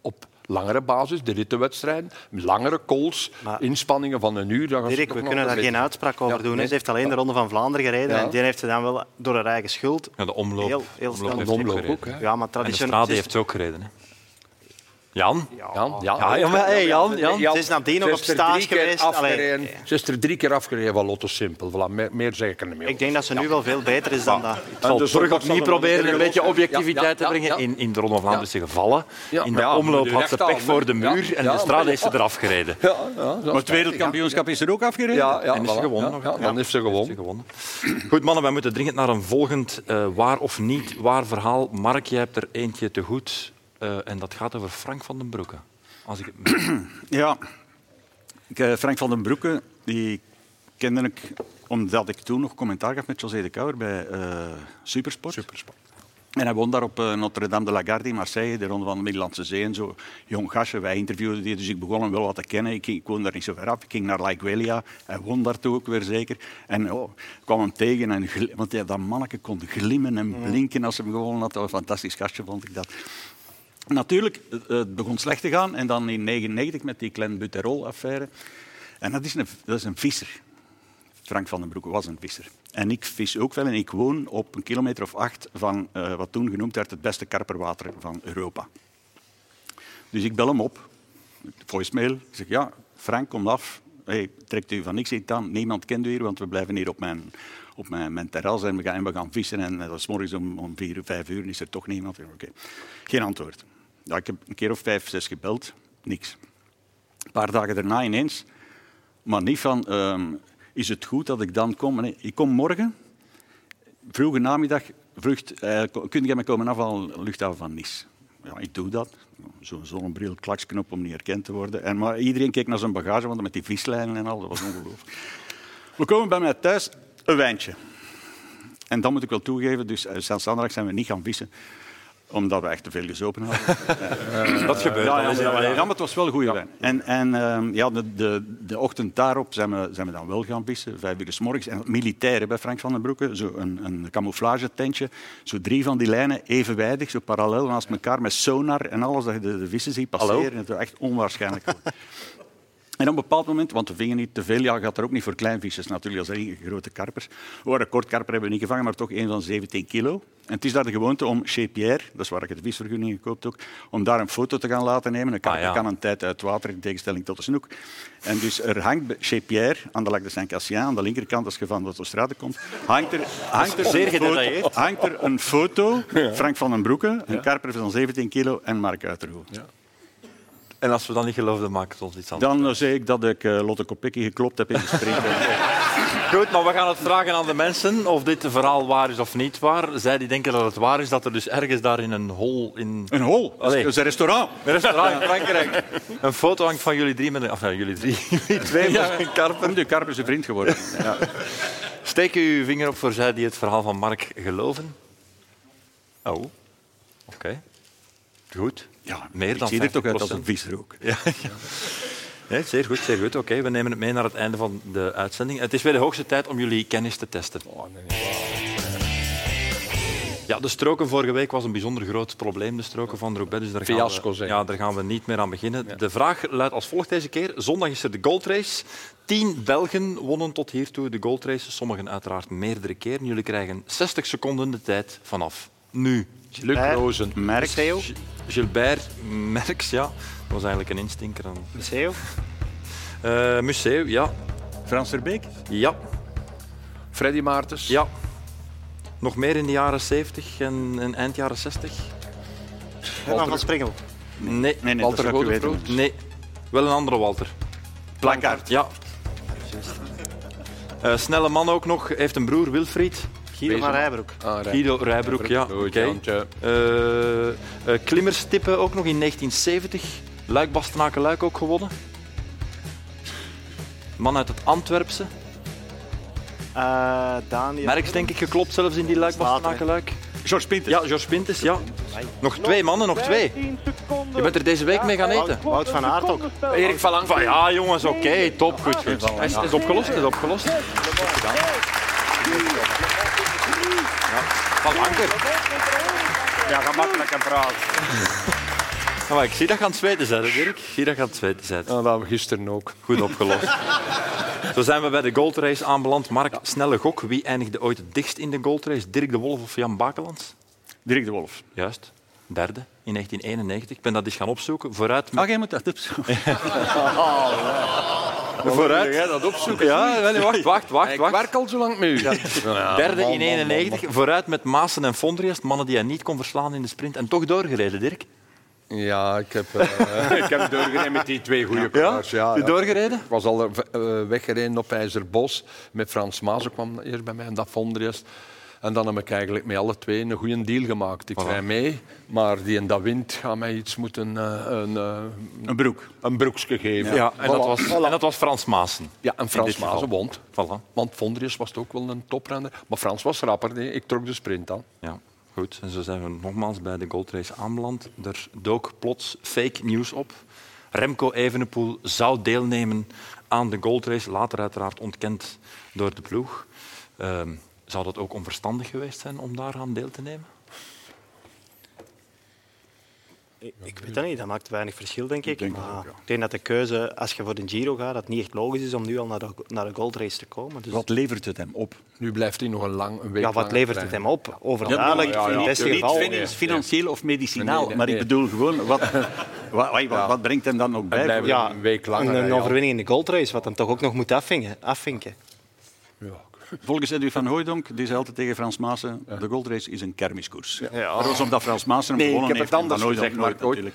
op langere basis, de rittenwedstrijd, langere calls, Maar- inspanningen van een uur... Dan gaan ze Dirk, toch we nog kunnen een daar beetje- geen uitspraak over Ja, doen. hè. nee. Ze heeft alleen de Ronde van Vlaanderen gereden Ja. en die heeft ze dan wel door haar eigen schuld. Ja, de omloop, Heel- heel de snel. heeft De omloop gereden. ook, hè. Ja, maar En de traditioneel. strade heeft ze ook gereden. Hè. Jan? Jan, ja. Ja, ja, maar, hey, Jan, Jan. Ze is nadien nog op stage geweest. dus Afgereden, Allee, Ze is er drie keer afgereden van Lotto Simpel. Voilà, meer, meer zeg ik er niet meer Ik denk dat ze nu wel veel beter is dan dat. Ik zal de terug zondag opnieuw zal er wel proberen een een beetje derde objectiviteit ja, ja, te brengen. ja. In, in de Ronde van Vlaanderen is ze gevallen. Ja, in de maar ja, omloop de had ze rechter pech voor de handen. muur Ja, en ja, de maar- strade is ze eraf gereden. over. Ja, ja, zo Maar is het wereldkampioenschap is er ook afgereden. Ja, ja, En is ze voilà. gewonnen Ja, nog, ja, hè? dan heeft ze gewonnen. gewonnen. Goed mannen, wij moeten dringend naar een volgend eh, waar of niet waar verhaal. Mark, jij hebt er eentje te goed. eh, en dat gaat over Frank van den Broeke. Als ik het... Ja. Ik, eh, Frank van den Broeke, die kende ik omdat ik toen nog commentaar gaf met José de Kouwer bij eh, Supersport. Supersport. En hij woon daar op eh, Notre-Dame de la Garde in Marseille, de Ronde van de Middellandse Zee en zo. Jong gastje, wij interviewden die, dus ik begon hem wel wat te kennen. Ik, ging- ik woon daar niet zo ver af. Ik ging naar La Iguelia. Hij woon daartoe ook weer zeker. En oh, ik kwam hem tegen, en gl- want ja, dat manneke kon glimmen en blinken als hij hem gewonnen had. Oh, Een fantastisch gastje vond ik dat. Natuurlijk, eh, het begon slecht te gaan. En dan in 1999 met die Glenn Buterol-affaire. En dat is, een, dat is een visser. Frank van den Broeke was een visser. En ik vis ook wel. En ik woon op een kilometer of acht van eh, wat toen genoemd werd het beste karperwater van Europa. Dus ik bel hem op. Voicemail. Ik zeg, ja, Frank, komt af. Hey, trekt u van niks iets aan. Niemand kent u hier, want we blijven hier op mijn, op mijn, mijn terras en we, gaan, en we gaan vissen. En eh, dat is morgens om, om vier, uur, vijf uur en is er toch niemand. Ik zeg, Oké, Geen antwoord. Ja, ik heb een keer of vijf, zes gebeld. Niks. Een paar dagen daarna ineens. Maar niet van, ehm, is het goed dat ik dan kom? Nee, ik kom morgen, vroege namiddag, vlucht, eh, ko- kun jij mij komen afhalen, luchthaven van Nice? Ja, ik doe dat. Zo'n zonnebril, klaksknop om niet herkend te worden. En, maar iedereen keek naar zijn bagage, want met die vislijnen en al, dat was ongelooflijk. We komen bij mij thuis, een wijntje. En dat moet ik wel toegeven, dus eh, zelfs zaterdag zijn we niet gaan vissen omdat we echt te veel gezopen hadden. dat gebeurt. Ja, dan ja, is het maar, wel ja, maar het was wel goed. wijn. En, en ehm, ja, de, de, de ochtend daarop zijn we, zijn we dan wel gaan vissen, vijf uur 's morgens. En militairen bij Frank van den Broeke, zo een, een camouflagetentje. Zo drie van die lijnen evenwijdig, zo parallel naast elkaar met sonar en alles. Dat je de, de vissen ziet passeren. Het was echt onwaarschijnlijk. En op een bepaald moment, want we vingen niet te veel, ja, gaat er ook niet voor kleinvisjes natuurlijk, als één grote karpers. We hadden een kortkarper hebben we niet gevangen, maar toch één van 17 kilo. En het is daar de gewoonte om chez Pierre, dat is waar ik het visvergunning gekoopt ook, om daar een foto te gaan laten nemen. Een karper Ah, ja. kan een tijd uit water, in tegenstelling tot de snoek. En dus er hangt bij chez Pierre, aan de Lac de Saint-Cassien, aan de linkerkant als je van de straat komt, hangt er, hangt er, zeer een, foto, gedetailleerd. hangt er een foto, Frank van den Broeke, een karper van 17 kilo en Mark Uitergoed. En als we dan niet geloofden, maakt het ons iets anders. Dan eh, zei ik dat ik eh, Lotte Kopecky geklopt heb in de sprint. Goed, maar we gaan het vragen aan de mensen of dit verhaal waar is of niet waar. Zij die denken dat het waar is, dat er dus ergens daar in een hol in Een hol. Dat Allee. is een restaurant. een restaurant in Frankrijk een foto hangt van jullie drie met een... Of ja, jullie drie. Jullie twee met een karper. De karp is een vriend geworden. Ja. Steek uw vinger op voor zij die het verhaal van Mark geloven. Oh, oké. Goed. meer dan Ik zie er toch uit als 50%. een visser ook. Nee, zeer goed, zeer goed. Oké, we nemen het mee naar het einde van de uitzending. Het is weer de hoogste tijd om jullie kennis te testen. Oh, Ja, de stroken vorige week was een bijzonder groot probleem, de stroken van Roubaix. Dus daar gaan Fiasco, we, zeg. ja, daar gaan we niet meer aan beginnen. De vraag luidt als volgt deze keer. Zondag is er de goldrace. Tien Belgen wonnen tot hiertoe de goldrace. Sommigen uiteraard meerdere keren. Jullie krijgen 60 seconden de tijd vanaf nu. Luc Rozen. Merk. Theo? Gilbert Merks, ja. Dat was eigenlijk een instinker. Theo? Eh Museeuw, ja. Frans Verbeek. Ja, Freddy Maartens. ja. Nog meer in de jaren 70 en, en eind jaren 60? Herman van Springel. Nee. Nee, nee, Walter dat zou ik Godefroot. weten. Nee. Wel een andere Walter. Plankaart. Ja. Eh, snelle man ook nog. Heeft een broer, Wilfried. Guido van Rijbroek. Ah, Rijn. Guido Rijbroek, ja. Goed, Oké. Jantje. Eh, eh, klimmerstippen ook nog in 1970. Luik Bastenaken Luik ook gewonnen. Man uit het Antwerpse. Eh, Daniel. Merks denk ik geklopt zelfs in die Luik Bastenaken Luik. George Pinter. Ja, George Pintes, ja. Nog twee mannen, nog twee. Je bent er deze week mee gaan eten. Wout- Wout van Aert ook. Erik van Lang. Van, ja, jongens, oké, top, goed, goed. Het is, het is opgelost, het is opgelost. Goed gedaan. Ja, Van Anker. Ja, gemakkelijk en praat. Ja, maar Nou, ik zie dat je aan het zweten bent, hè, Dirk. Ik zie dat je aan het zweten bent. Ja, Nou, dat we gisteren ook. Goed opgelost. Zo zijn we bij de goldrace aanbeland. Mark, snelle gok. Wie eindigde ooit het dichtst in de goldrace? Dirk de Wolf of Jan Bakelands? Dirk de Wolf. Juist. Derde in 1991. Ik ben dat eens gaan opzoeken. Vooruit Ah, jij moet dat opzoeken. Vooruit. Jij dat opzoeken. Ja, wel, wacht, wacht, wacht. Ik wacht. werk al zo lang mee. Derde in 91, vooruit met Maassen en Fondriest, mannen die hij niet kon verslaan in de sprint. En toch doorgereden, Dirk. Ja, ik heb, eh, ik heb doorgereden met die twee goede coureurs. Ja, ja. Doorgereden? Ik was al eh, weggereden op IJzerbos. Met Frans Maas kwam eerst bij mij en dat vond er eerst. En dan heb ik eigenlijk met alle twee een goede deal gemaakt. Ik rijd mee, maar die en dat wind gaat mij iets moeten... eh, een, eh, Een broek. een broekje geven. Ja, en dat Voilà. was, en dat was Frans Maassen. Ja, en In Frans dit geval. Maas wond. Voilà. Want Vondrius was ook wel een toprenner. Maar Frans was rapper. nee. Ik trok de sprint aan. Ja, goed. En zo zijn we nogmaals bij de goldrace aanbeland. Er dook plots fake nieuws op. Remco Evenepoel zou deelnemen aan de goldrace. Later uiteraard ontkend door de ploeg. Ehm, zou dat ook onverstandig geweest zijn om daaraan deel te nemen? Ik, ik weet dat niet, dat maakt weinig verschil, denk ik. denk dat maar ook, ja. ik denk dat de keuze, als je voor de Giro gaat, dat het niet echt logisch is om nu al naar de, naar de goldrace te komen. Dus, Wat levert het hem op? Nu blijft hij nog een lang een week ja, wat langer levert het rijden. hem op? Overduidelijk, Ja, maar ja, in ja, het beste tuurlijk. geval. financieel of medicinaal, Nee, nee, maar ik nee. bedoel gewoon, wat, wat, wat, wat brengt hem dan nog bij? blijft- Ja, Ja, Een week langer, een, hè, een ja. overwinning in de goldrace, wat hem toch ook nog moet afvinken. afvinken. volgens Edwin van Hooijdonk, die zei altijd tegen Frans Maassen, de goldrace is een kermiskoers. Dat was omdat Frans Maassen hem Nee, ik gewonnen heb het heeft. en anders Van Hooijdonk gezegd, maar nooit, ooit-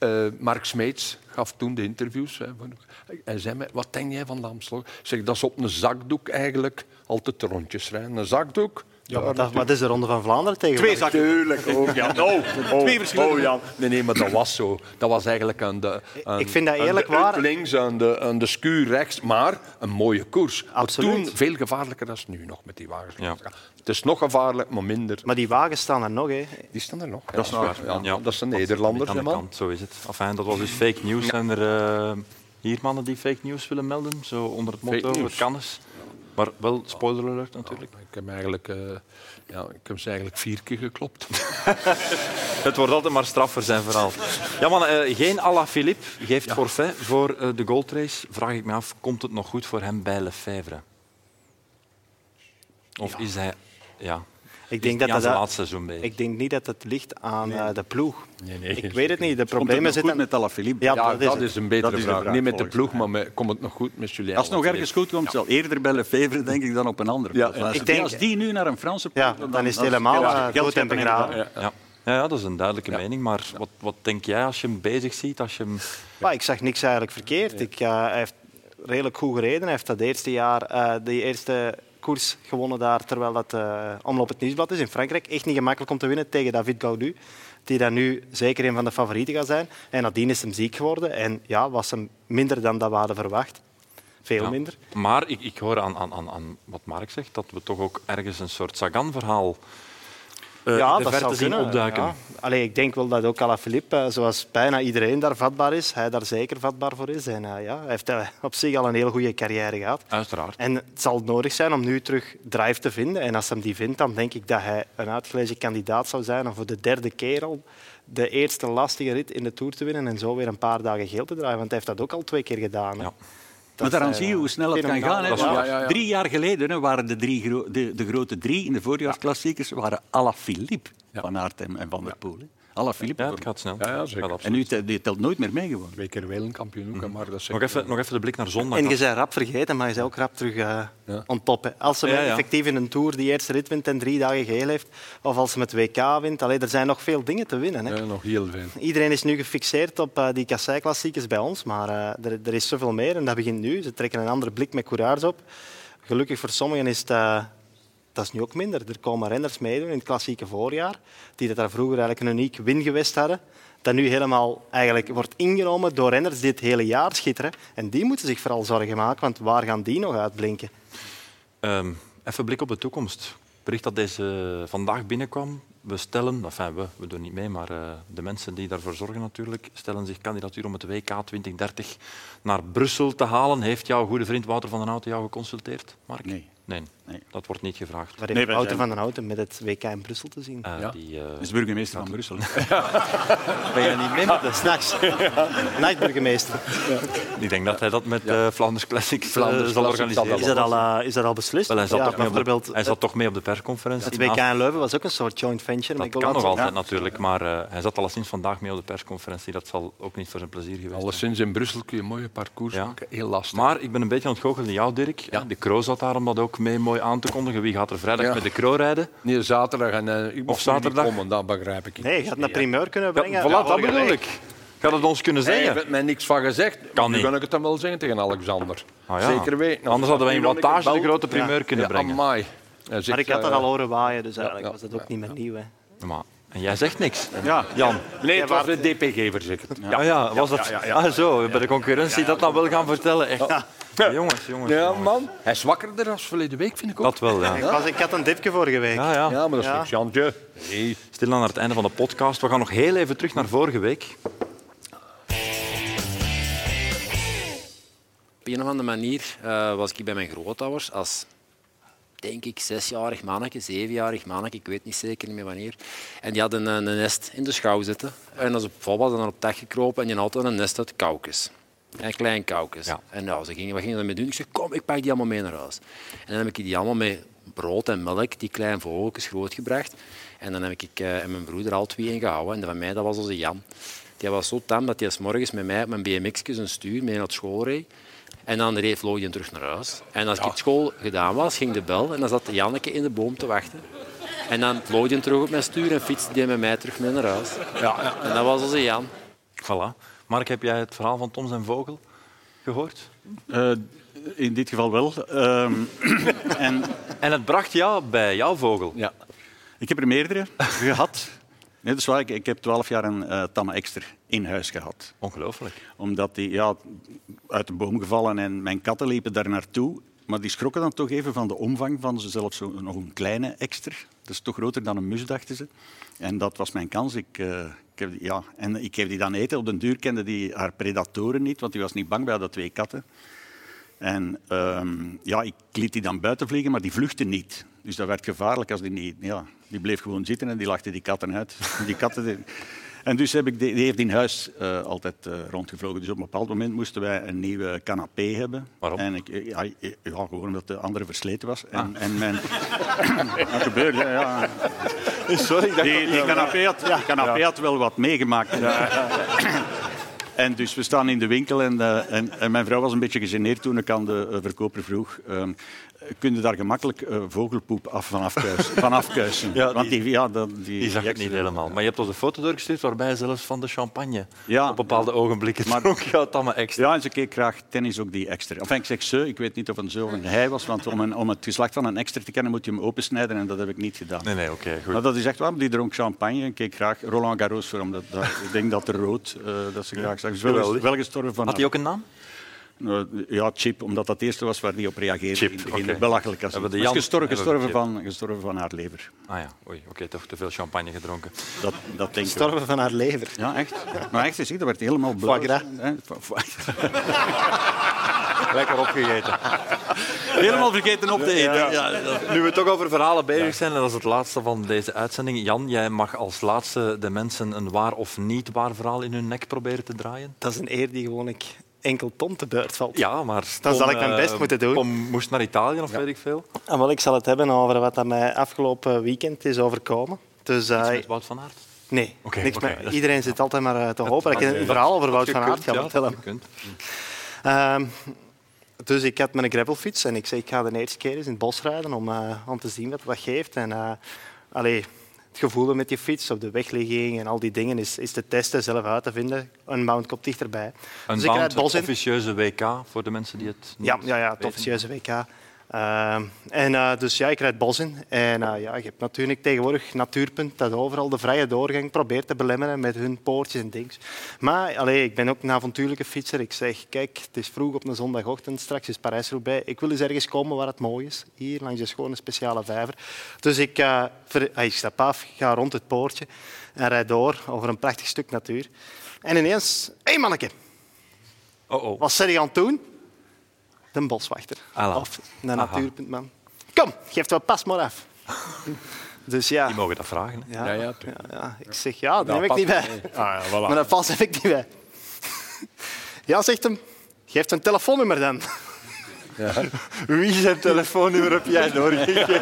natuurlijk. Eh, Mark Smeets gaf toen de interviews. Hè, voor- hij zei mij, wat denk jij van de Amstel? Ik zeg, dat is op een zakdoek eigenlijk altijd rondjes rijden. Een zakdoek? Ja, Dat- maar dat is de Ronde van Vlaanderen tegen. Twee zakken. Tuurlijk. Ook, ja. Twee verschillende- Oh, ja. Nee, nee, maar dat was zo. Dat was eigenlijk aan de... aan- Ik vind dat aan de eerlijk waar- uit links, aan de, aan de skuur rechts. Maar een mooie koers. Maar Absoluut. toen veel gevaarlijker dan nu nog met die wagens. Ja. Het is nog gevaarlijk, maar minder. Maar die wagens staan er nog. Hè. Die staan er nog. Dat is Ah, waar. Ja, Ja. Dat zijn Nederlanders, Aan hè, de man. kant, zo is het. Enfin, dat was dus fake nieuws. Zijn er eh, hier mannen die fake nieuws willen melden? Zo onder het Fake motto, nieuws. het kan eens. Maar wel spoiler alert natuurlijk. Ik heb, eigenlijk, eh, ja, ik heb ze eigenlijk vier keer geklopt. Het wordt altijd maar straffer zijn verhaal. Ja, man, geen Alain Philippe geeft forfait voor eh, de goldrace. Vraag ik me af, komt het nog goed voor hem bij Lefebvre? Of is hij... Ja, Ik is denk niet dat aan dat, zijn laatste seizoen bezig? ik denk niet dat het ligt aan eh, de ploeg. nee. Ik weet het niet. De Komt het problemen nog goed zitten. met Alaphilippe? Ja, Ja, dat is het. een betere Dat is de vraag. vraag, Niet met de volgens ploeg, maar met, komt het nog goed met Julien? Als het nog ergens goed komt, zal eerder bij Lefevre denk ik dan op een andere. plaats. als, ik die- denk- als die nu naar een Franse Ja, ploeg, dan is het helemaal als- eh, geld dood en scheppen begraven. inderdaad. Ja. Ja, ja, dat is een duidelijke mening. Maar wat, wat denk jij als je hem bezig ziet? Als je hem... Maar ik zag niks eigenlijk verkeerd. Ik, eh, hij heeft redelijk goed gereden. Hij heeft dat eerste jaar eh, die eerste koers gewonnen daar, terwijl dat eh, omloop het nieuwsblad is in Frankrijk. Echt niet gemakkelijk om te winnen tegen David Gaudu, die dan nu zeker een van de favorieten gaat zijn. En nadien is hem ziek geworden en ja, was hem minder dan dat we hadden verwacht. Veel Ja. minder. Maar ik, ik hoor aan, aan, aan, aan wat Mark zegt, dat we toch ook ergens een soort Sagan-verhaal eh, in de verte zou zien kunnen, opduiken. ja. Allee, ik denk wel dat ook Alaphilippe, eh, zoals bijna iedereen daar vatbaar is, hij daar zeker vatbaar voor is. En eh, ja, hij heeft eh, op zich al een heel goede carrière gehad. Uiteraard. En het zal nodig zijn om nu terug drive te vinden. En als hij hem die vindt, dan denk ik dat hij een uitgelezen kandidaat zou zijn om voor de derde keer al de eerste lastige rit in de Tour te winnen en zo weer een paar dagen geel te draaien. Want hij heeft dat ook al twee keer gedaan. hè. Ja. Maar daaraan zie je hoe snel het kan gaan. hè. Dat is Want waar. Ja, ja, ja. Drie jaar geleden hè, waren de, drie gro- de, de grote drie in de voorjaarsklassiekers waren Alaphilippe, Van Aert en en Van der Poel. hè. Alaphilippe. Ja, het gaat snel. Ja, ja, zeker. Gaat absoluut. en nu telt- die telt nooit meer mee gewoon. Twee keer wereldkampioen ook, hè, maar dat is nog, even, nog even de blik naar zondag. En je bent rap vergeten, maar je bent ook rap terug eh on top. hè. Als ze Ja, ja. effectief in een Tour die eerste rit wint en drie dagen geel heeft, of als ze met WK wint, allee, er zijn nog veel dingen te winnen. Hè. Ja, eh, nog heel veel. Iedereen is nu gefixeerd op eh, die kassei-klassiekers bij ons, maar eh, er, er is zoveel meer en dat begint nu. Ze trekken een andere blik met coureurs op. Gelukkig voor sommigen is het, eh, dat is nu ook minder. Er komen renners meedoen in het klassieke voorjaar, die dat daar vroeger eigenlijk een uniek wingewest hadden. Dat nu helemaal eigenlijk wordt ingenomen door renners die het hele jaar schitteren. En die moeten zich vooral zorgen maken, want waar gaan die nog uitblinken? Ehm, even blik op de toekomst. Bericht dat deze eh, vandaag binnenkwam. We stellen, enfin we, we doen niet mee, maar eh, de mensen die daarvoor zorgen natuurlijk, stellen zich kandidatuur om het WK 2030 naar Brussel te halen. Heeft jouw goede vriend Wouter van den Houten jou geconsulteerd, Mark? Nee. Nee. Nee. Dat wordt niet gevraagd. Waar Nee, heeft wij Wouter zijn- Ah. van den Houten met het WK in Brussel te zien? Eh, Ja. die, eh, Dat is burgemeester van Brussel. Ben je niet mee met de s'nachts? Nachtburgemeester. ik denk dat hij dat met eh Flanders Classics eh, Flanders zal Classics zal organiseren. Is dat al, eh, is dat al beslist? Wel, hij, zat Ja, toch mee op de- bijvoorbeeld eh, hij zat toch mee op de persconferentie. Het WK in Leuven was ook een soort joint venture. Dat met kan nog Gollancz. altijd natuurlijk, maar eh, hij zat al sinds vandaag mee op de persconferentie. Dat zal ook niet voor zijn plezier geweest zijn. Alleszins in Brussel kun je mooie parcours Ja. maken. Heel lastig. Maar ik ben een beetje aan het goochelen jou, Dirk. De Kro zat daar om dat ook mee mooi aan te kondigen. Wie gaat er vrijdag Ja. met de Kro rijden? Nee, zaterdag en eh, ik mocht niet zaterdag? komen, dat begrijp ik niet. Nee, je had een primeur kunnen Ja, brengen. voilà, dat vorige bedoel week. ik. Gaat het ons kunnen Hey, je zeggen? hebt mij niks van gezegd. Kan nu niet. kan ik het dan wel zeggen tegen Alexander. Ah, ja. Zeker weten. Nou, Anders hadden wij in hier heb ik wattage de gebeld. grote primeur kunnen Ja, brengen. amai. Hij zegt, Maar ik had dat eh, al horen waaien, dus eigenlijk ja, was dat ook niet meer nieuw. Hè. Maar, en jij zegt niks. Ja. Jan. Nee, het was de DPG verzekerd. Ja, ja, was dat... Ah, zo, bij de concurrentie dat dan wel gaan vertellen. Echt. Jongens, jongens. Ja, jongens. man. Hij is wakkerder als verleden week, vind ik ook. Dat wel, ja. Ik, was, ik had een dipje vorige week. Ja, ja. Ja, maar dat is niks, Jantje. Nee. Stil aan het einde van de podcast. We gaan nog heel even terug naar vorige week. Op een of andere manier eh, was ik bij mijn grootouders als, denk ik, zesjarig manneke, zevenjarig manneke, ik weet niet zeker meer wanneer. En die hadden een, een nest in de schouw zitten. En als op vol was, dan op het dak gekropen en die hadden een nest uit kaukes. Een klein kaukes. Ja. En nou, ze gingen, wat gingen ze mee doen? Ik zei, kom, ik pak die allemaal mee naar huis. En dan heb ik die allemaal met brood en melk, die kleine vogeltjes, grootgebracht. En dan heb ik eh, en mijn broer er al twee in gehouden. En van mij, dat was onze Jan. Die was zo tam dat hij 's morgens met mij op mijn BMX een stuur mee naar het school reed. En dan reed Floydje hem terug naar huis. En als ik op school gedaan was, ging de bel en dan zat Janneke in de boom te wachten. En dan Floydje hem terug op mijn stuur en fietste die met mij terug mee naar huis. En dat was onze Jan. Voilà. Mark, heb jij het verhaal van Tom zijn vogel gehoord? Eh, in dit geval wel. Ehm, en En het bracht jou bij jouw vogel. ja. Ik heb er meerdere gehad. Nee, dat is waar. Ik, ik heb twaalf jaar een eh, tamme ekster in huis gehad. Ongelooflijk. Omdat die ja, uit de boom gevallen en mijn katten liepen daar naartoe. Maar die schrokken dan toch even van de omvang van ze zelfs zo, nog een kleine ekster. Dat is toch groter dan een mus, dachten ze. En dat was mijn kans. Ik, eh, ik heb, die- ja, en ik geef die dan eten. Op den duur kende die haar predatoren niet, want die was niet bang bij de twee katten. En ehm, ja, ik liet die dan buiten vliegen, maar die vluchtte niet. Dus dat werd gevaarlijk als die niet... Ja, die bleef gewoon zitten en die lachte die katten uit. Die katten... die- En dus heb ik die, die heeft in huis eh, altijd eh, rondgevlogen. Dus op een bepaald moment moesten wij een nieuwe canapé hebben. Waarom? En ik, ja, ja, gewoon omdat de andere versleten was. En, en mijn... dat gebeurde, ja. Sorry, dat Die, die canapé, had, die canapé had wel wat meegemaakt. En dus we staan in de winkel en, eh, en, en mijn vrouw was een beetje gegeneerd toen ik aan de eh, verkoper vroeg... ehm kun je daar gemakkelijk eh, vogelpoep af van afkuisen? Van afkuisen? Ja, Want die, ja, dat- Die zag ik niet helemaal. Maar je hebt ons een foto doorgestuurd waarbij je zelfs van de champagne Ja. op bepaalde ogenblikken maar, Maar- dronk. Ja, dat maar extra. Ja, en ze keek graag tennis ook die extra. Enfin, ik zeg ze, ik weet niet of een ze of een hij was, want om, een, om het geslacht van een extra te kennen moet je hem opensnijden en dat heb ik niet gedaan. Nee, nee, oké, goed. Maar Nou, dat is echt waar, die dronk champagne en keek graag Roland Garros voor, omdat dat, ik denk dat de rood, eh, dat ze graag zag. Is wel, Geweldig. wel gestorven van... Had hij ook een naam? Nou, ja, Chip, omdat dat het eerste was waar die op reageerde. Chip, in het begin. oké. Belachelijk. Als Hebben het de is Jan- gestorven, hebben we gestorven, van, gestorven van haar lever. Ah ja, oei, oké, toch te veel champagne gedronken. Dat, dat denk ik. Storven van haar lever. Ja, echt. Maar echt, je ziet, dat werd helemaal blauw. Foie gras. Hè, fo- fo- Lekker opgegeten. Helemaal vergeten op te eten. Ja, dat- Nu we toch over verhalen bezig zijn, en dat is het laatste van deze uitzending. Jan, jij mag als laatste de mensen een waar of niet waar verhaal in hun nek proberen te draaien. Dat is een eer die gewoon ik enkel Tom te beurt valt. Ja, maar... Dan Tom, zal ik mijn best eh, moeten doen. Tom moest naar Italië, of weet ik veel. En wel, ik zal het hebben over wat dat mij afgelopen weekend is overkomen. Dus eh, Iets met Wout van Aert. nee, Oké, niks oké, meer. dat is- iedereen zit altijd maar eh, te hopen dat ik een verhaal over Wout van Aert ga Ja, vertellen. je kunt. Ehm, dus ik had mijn gravelfiets en ik zei, ik ga de eerste keer eens in het bos rijden om, eh, om te zien wat dat geeft. En, eh, allee, het gevoel met je fiets op de wegligging en al die dingen is, is te testen, zelf uit te vinden. Een mount komt dichterbij. Een dus ik rijd het bos in. officieuze WK, voor de mensen die het niet Ja, ja, ja, het weten. officieuze WK. Ehm, en eh, dus ja, ik rijd het bos in. En eh, ja, je hebt natuurlijk tegenwoordig Natuurpunt dat overal de vrije doorgang probeert te belemmeren met hun poortjes en dings. Maar allee, ik ben ook een avontuurlijke fietser. Ik zeg, kijk, het is vroeg op een zondagochtend, straks is Parijs-Roubaix. Ik wil eens ergens komen waar het mooi is. Hier, langs de schone speciale vijver. Dus ik, eh, ver- ah, ik stap af, ga rond het poortje en rijd door over een prachtig stuk natuur. En ineens, hé hey, manneke, Oh, oh. wat zijn je aan het doen? De boswachter. Ala. Of de natuurpuntman. Kom, geef dat pas maar af. Dus ja. Die mogen dat vragen. hè. Ja, Ja, ja, ja, tuurlijk. ja. Ik zeg ja, daar Ja, heb ik pas niet bij. mee. Ah, ja, voilà. Maar dat pas heb ik niet bij. Ja, zegt hem. Geef een telefoonnummer dan. Wie zijn telefoonnummer heb jij doorgegeven?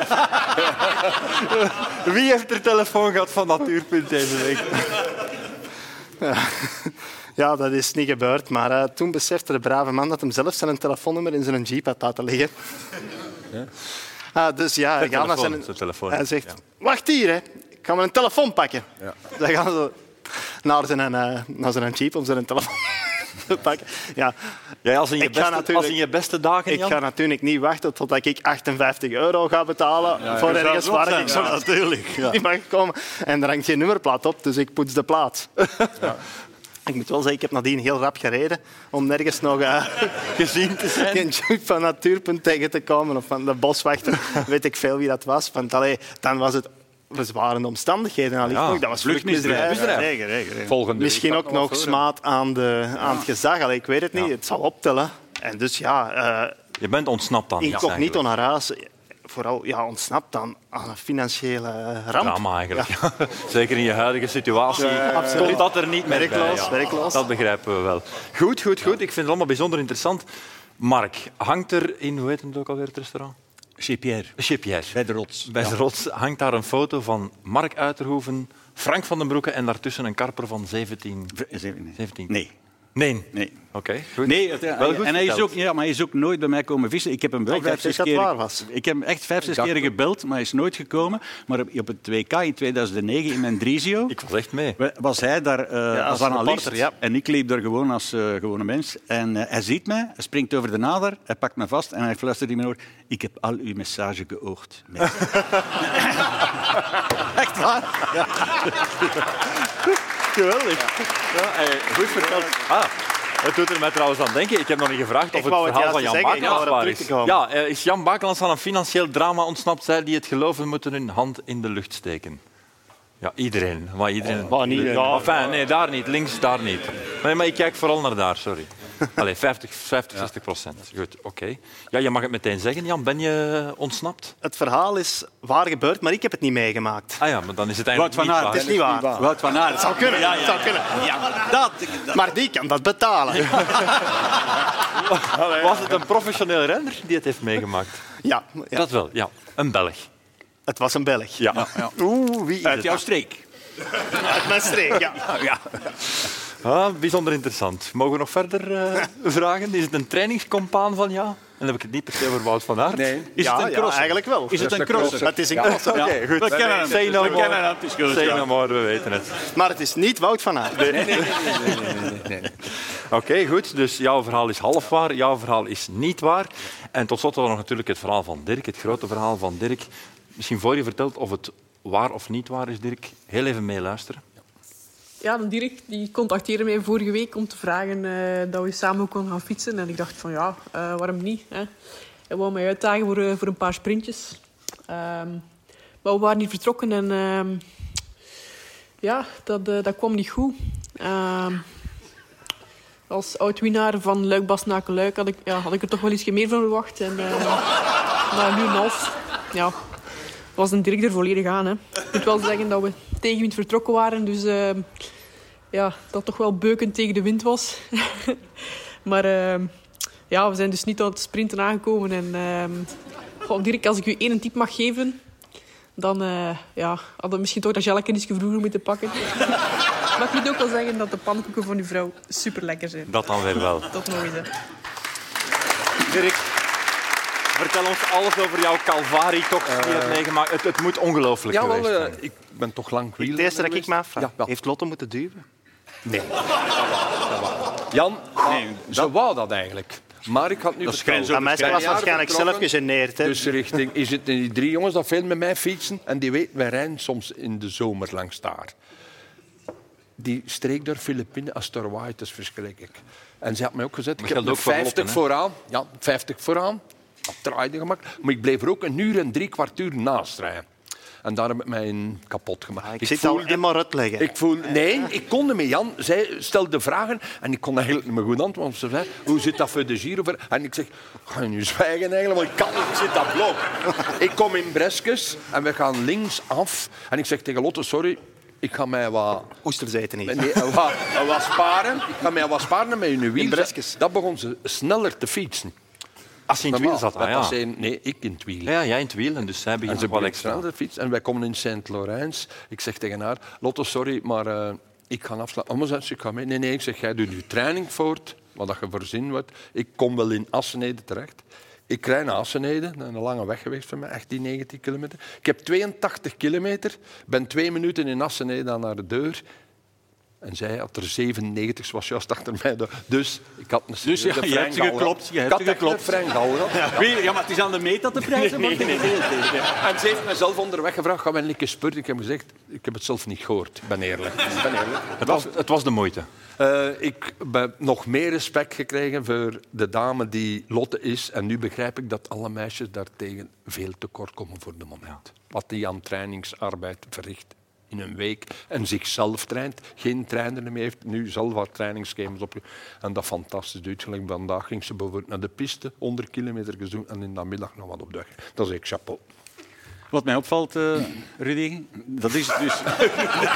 Wie heeft er telefoon gehad van Natuurpunt deze week? Ja, dat is niet gebeurd. Maar eh, toen besefte de brave man dat hem zelf zijn telefoonnummer in zijn jeep had laten liggen. Ah, dus ja, hij gaat naar telefoon, zijn... zijn telefoon. Hij zegt, Ja. wacht hier, hè. ik ga mijn telefoon pakken. Dan gaan ze naar zijn, eh, naar zijn jeep om zijn telefoon te pakken. Ja, Ja, als, in je Ik ga beste, natuurlijk- als in je beste dagen, ik Jan. ga natuurlijk niet wachten totdat ik 58 euro ga betalen voor ergens waar ik zo natuurlijk. niet mag komen. En er hangt geen nummerplaat op, dus ik poets de plaat. Ik moet wel zeggen, ik heb nadien heel rap gereden om nergens nog eh, gezien te zijn. Geen jeep van Natuurpunt tegen te komen of van de boswachter. Weet ik veel wie dat was. Want allee, dan was het bezwarende omstandigheden. Allicht Ja, nog. Dat was vluchtmisdrijf. vluchtmisdrijf. Regen, regen, regen. Volgende Misschien week ook gaat nog nog wat smaad aan, de, aan het gezag. Allee, ik weet het niet. Het zal optellen. En dus ja, eh, Je bent ontsnapt dan. ja, incognito eigenlijk. naar huis. Vooral ja, ontsnapt dan aan een financiële ramp. Drama eigenlijk. Zeker in je huidige situatie absoluut. komt dat er niet meer bij. Werkloos, ja. werkloos. Dat begrijpen we wel. Goed, goed, goed. Ik vind het allemaal bijzonder interessant. Mark, hangt er in, hoe heet het ook alweer, het restaurant? Chez Pierre, Chez Pierre. bij de rots. Bij de rots hangt daar een foto van Mark Uiterhoeven, Frank van den Broeke en daartussen een karper van 17. Nee. 17. Nee. Nee. nee. Oké, goed. Nee, het- ja, Wel goed en hij is, verteld. ook, ja, maar hij is ook nooit bij mij komen vissen. Ik heb hem wel Ik vijf, dacht zes dat keer... dat waar was. Ik heb hem echt vijf, zes keer gebeld, maar hij is nooit gekomen. Maar op op het WK in 2009 in Mendrisio... Ik was echt mee. We- Was hij daar eh, als, als analist reporter, ja. en ik liep daar gewoon als eh, gewone mens. En eh, hij ziet mij, hij springt over de nader, hij pakt me vast en hij fluistert in mijn oor: Ik heb al uw message geoogd. mensen." Echt waar? Geweldig. Ja, eh, goed verteld. Ah, het doet er mij trouwens aan denken. Ik heb nog niet gevraagd of Ik het wou het verhaal van Jan juist zeggen, ik Bakelans wou waar erop is. terugkomen. Ja, eh, is Jan Bakelans aan een financieel drama ontsnapt? Zij die het geloven moeten hun hand in de lucht steken. Ja, iedereen. Maar iedereen. Oh, maar niet- ja. Enfin, nee, daar niet. Links, daar niet. Nee, maar ik kijk vooral naar daar, sorry. Allee, 50, 50 60 procent. Goed, oké. Ja, je mag het meteen zeggen, Jan. Ben je ontsnapt? Het verhaal is waar gebeurd, maar ik heb het niet meegemaakt. Ah ja, maar dan is het Wout eigenlijk van niet Aert. waar. Het is niet waar. Wout van Aert. Het zou kunnen. Het zou kunnen. Dat, Maar die kan dat betalen. Was het een professioneel renner die het heeft meegemaakt? Ja, ja. Dat wel, ja. Een Belg. het was een Belg. ja. Oeh, wie is uit het? jouw streek. Uit mijn streek, ja. Ah, bijzonder interessant. Mogen we nog verder eh, vragen? Is het een trainingscompaan van ja? En dan heb ik het niet per se over Wout van Aert. Nee. Is ja, het een ja, crosser? eigenlijk wel. Is het een crosser? Het is een crosser. Ja. Oké, goed. We kennen hem. Say no We more. kennen hem. Het is goed, Say ja. no more, nou we weten het. Maar het is niet Wout van Aert. Oké, goed. Dus jouw verhaal is half waar, jouw verhaal is niet waar. En tot slot hadden we nog natuurlijk het verhaal van Dirk, het grote verhaal van Dirk. Misschien voor je vertelt of het waar of niet waar is, Dirk. Heel even meeluisteren. Ja, de Dirk die contacteerde mij vorige week om te vragen eh, dat we samen konden gaan fietsen. En ik dacht van ja, eh, waarom niet? Hè? Hij wou mij uitdagen voor, eh, voor een paar sprintjes. Ehm, maar we waren niet vertrokken en ehm, ja, dat, eh, dat kwam niet goed. Ehm, als oud-winnaar van Luik Basnaken Luik had ik, ja, had ik er toch wel iets meer van verwacht. En eh, na een uur en een half ja, was de Dirk er volledig aan. Hè. Ik moet wel zeggen dat we tegenwind vertrokken waren, dus... ehm, ja, dat toch wel beuken tegen de wind was. maar ehm, ja, we zijn dus niet aan het sprinten aangekomen. En, ehm goh, Dirk, als ik u één tip mag geven, dan eh, ja, hadden we misschien toch dat jelletje iets vroeger moeten pakken. maar ik moet ook wel zeggen dat de pannenkoeken van uw vrouw super lekker zijn. Dat dan weer wel. Tot nog eens. hè. Dirk, vertel ons alles over jouw Calvary-tocht die je hebt meegemaakt. Het, het moet ongelooflijk Eh, Ja, geweest wel, zijn. eh, ik ben toch lang Het wielrenner eerste dat ik geweest. me afvraag, Ja, ja. heeft Lotte moeten duwen? Jan, ze wou dat eigenlijk. Maar ik had nu Dat is vertrouwen. Dat meisje was Ben waarschijnlijk jaren zelf vertrokken. gegeneerd. Hè? Dus richting, is het die drie jongens dat veel met mij fietsen? En die weten, wij rijden soms in de zomer langs daar. Die streek door Filipine, als het er waait, dat is verschrikkelijk. En ze had mij ook gezet, dat ik heb geldt nog ook voor 50 Lotte, hè? vooraan. Ja, 50 vooraan. Dat draaide gemakkelijk. Maar ik bleef er ook een uur en drie kwart uur naast rijden. En daar heb ik mij in kapot gemaakt. Ah, ik, zit al helemaal uitleggen. Ik voel, nee, ik kon met Jan. Zij stelde vragen en ik kon eigenlijk niet meer goed antwoorden. Want Ze zei, hoe zit dat voor de Giro? En ik zeg, ga je nu zwijgen eigenlijk, want ik kan niet, ik zit dat blok. Ik kom in Breskes en we gaan links af. En ik zeg tegen Lotte, sorry, ik ga mij wat Oesters eten niet. Nee, een wa- een was sparen. Ik ga mij was sparen met hun wiel. Breskes. Dat begon ze sneller te fietsen. Als je in het wiel zat, ah, Wij ja. passeren- Nee, ik in het wiel. Ja, ja, jij in het wiel. En dus zij En begint ze nog wel bleek extra. sneller fiets. En wij komen in Sint-Lorijns. Ik zeg tegen haar, Lotto, sorry, maar eh, ik ga afslaan. Oh, maar zei ze, ik ga mee. Nee, nee, ik zeg, jij doet je training voort. Wat dat je voorzien wordt. Ik kom wel in Assenede terecht. Ik rijd naar Assenede. Dat is een lange weg geweest voor mij. 18, 19 kilometer. Ik heb 82 kilometer. Ben twee minuten in Assenede aan haar deur. En zij had er 97, ze was juist achter mij. door. Dus ik had een Dus ja, serieuze je hebt Frank ze Gouwen. geklopt, je hebt Ik had ze echt een geklopt. Frank Gouwen. Wie- Ja, maar het is aan de meet dat de prijzen worden gedeeld. En ze heeft mezelf onderweg gevraagd, gaan we een keer spurten? Ik heb gezegd, ik heb het zelf niet gehoord. Ik ben eerlijk. Ik ben eerlijk. Het was, het was de moeite. Eh, ik heb nog meer respect gekregen voor de dame die Lotte is. En nu begrijp ik dat alle meisjes daartegen veel tekort komen voor de moment. Wat die aan trainingsarbeid verricht in een week en zichzelf traint. Geen trainer meer heeft, nu zelf haar trainingsschema's op. En dat fantastisch doet. Gelijk Vandaag ging ze bijvoorbeeld naar de piste, 100 kilometer gezoend en in de namiddag nog wat op de weg. Dat is ik chapeau. Wat mij opvalt, eh, Rudy, dat is dus...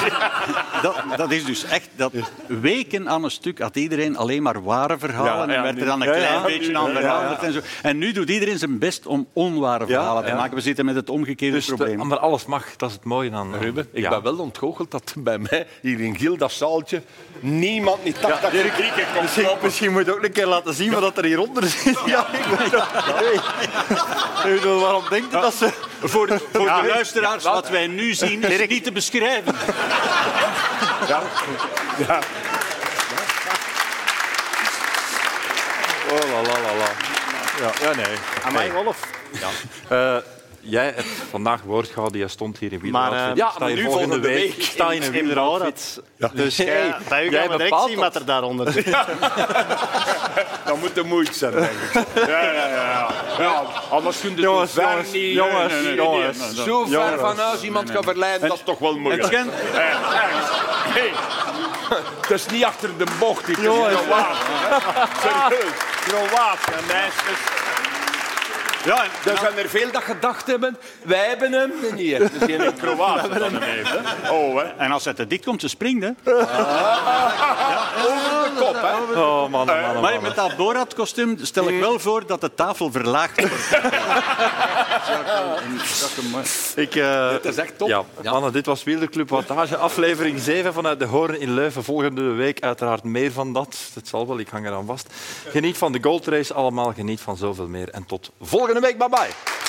dat, dat is dus echt... Dat weken aan een stuk had iedereen alleen maar ware verhalen. Ja, ja, en werd er nu- dan een ja, klein ja, beetje aan ja, veranderd. En, zo. en nu doet iedereen zijn best om onware verhalen te maken. We zitten met het omgekeerde Dus de, probleem. maar alles mag, dat is het mooie aan Ruben, ik Ja. ben wel ontgoocheld dat bij mij hier in Giel, dat zaaltje, niemand niet dacht dat ik Misschien, misschien moet je ook een keer laten zien wat er hieronder zit. Ja, ik weet waarom denk je dat ze... Voor de, voor de luisteraars, wat wij nu zien, is niet te beschrijven. Oh, la, la, la, la. Ja, ja nee. Amai, Wolf. Eh, jij hebt vandaag woord gehad, jij stond hier in Wieler. Maar, eh, ja, maar nu volgende volgende week. Ik sta in een In Wieler outfit. Rorat. Dus jij- Hey, bij u jij gaan we direct bepaalt zien dat. wat er daaronder zit. Dat moet de moeite zijn, denk ik. Ja, ja, ja. ja anders kun je jongens, ver jongens, niet... jongens, jongens. Zo ver van huis iemand kan verleiden, dat is toch wel Het moeilijk. schijnt- Het is niet achter de bocht, dit is Kroaat. Serieus, Kroaat, hè, meisjes. Ja, en- Er zijn er veel dat gedacht hebben, wij hebben hem niet. Het is geen Kroaat. oh, hè. en als het te dik komt, ze springt. Hè. Over de kop, hè. Oh, man, Eh, man, man. Maar met dat Borat-kostuum stel ik wel voor dat de tafel verlaagd wordt. Ik, eh, Dat is echt top. Ja, Anne, dit was Wielerclub Wattage, aflevering 7 vanuit de Hoorn in Leuven. Volgende week uiteraard meer van dat. Dat zal wel, ik hang eraan vast. Geniet van de goldrace allemaal, geniet van zoveel meer. En tot volgende week, bye bye.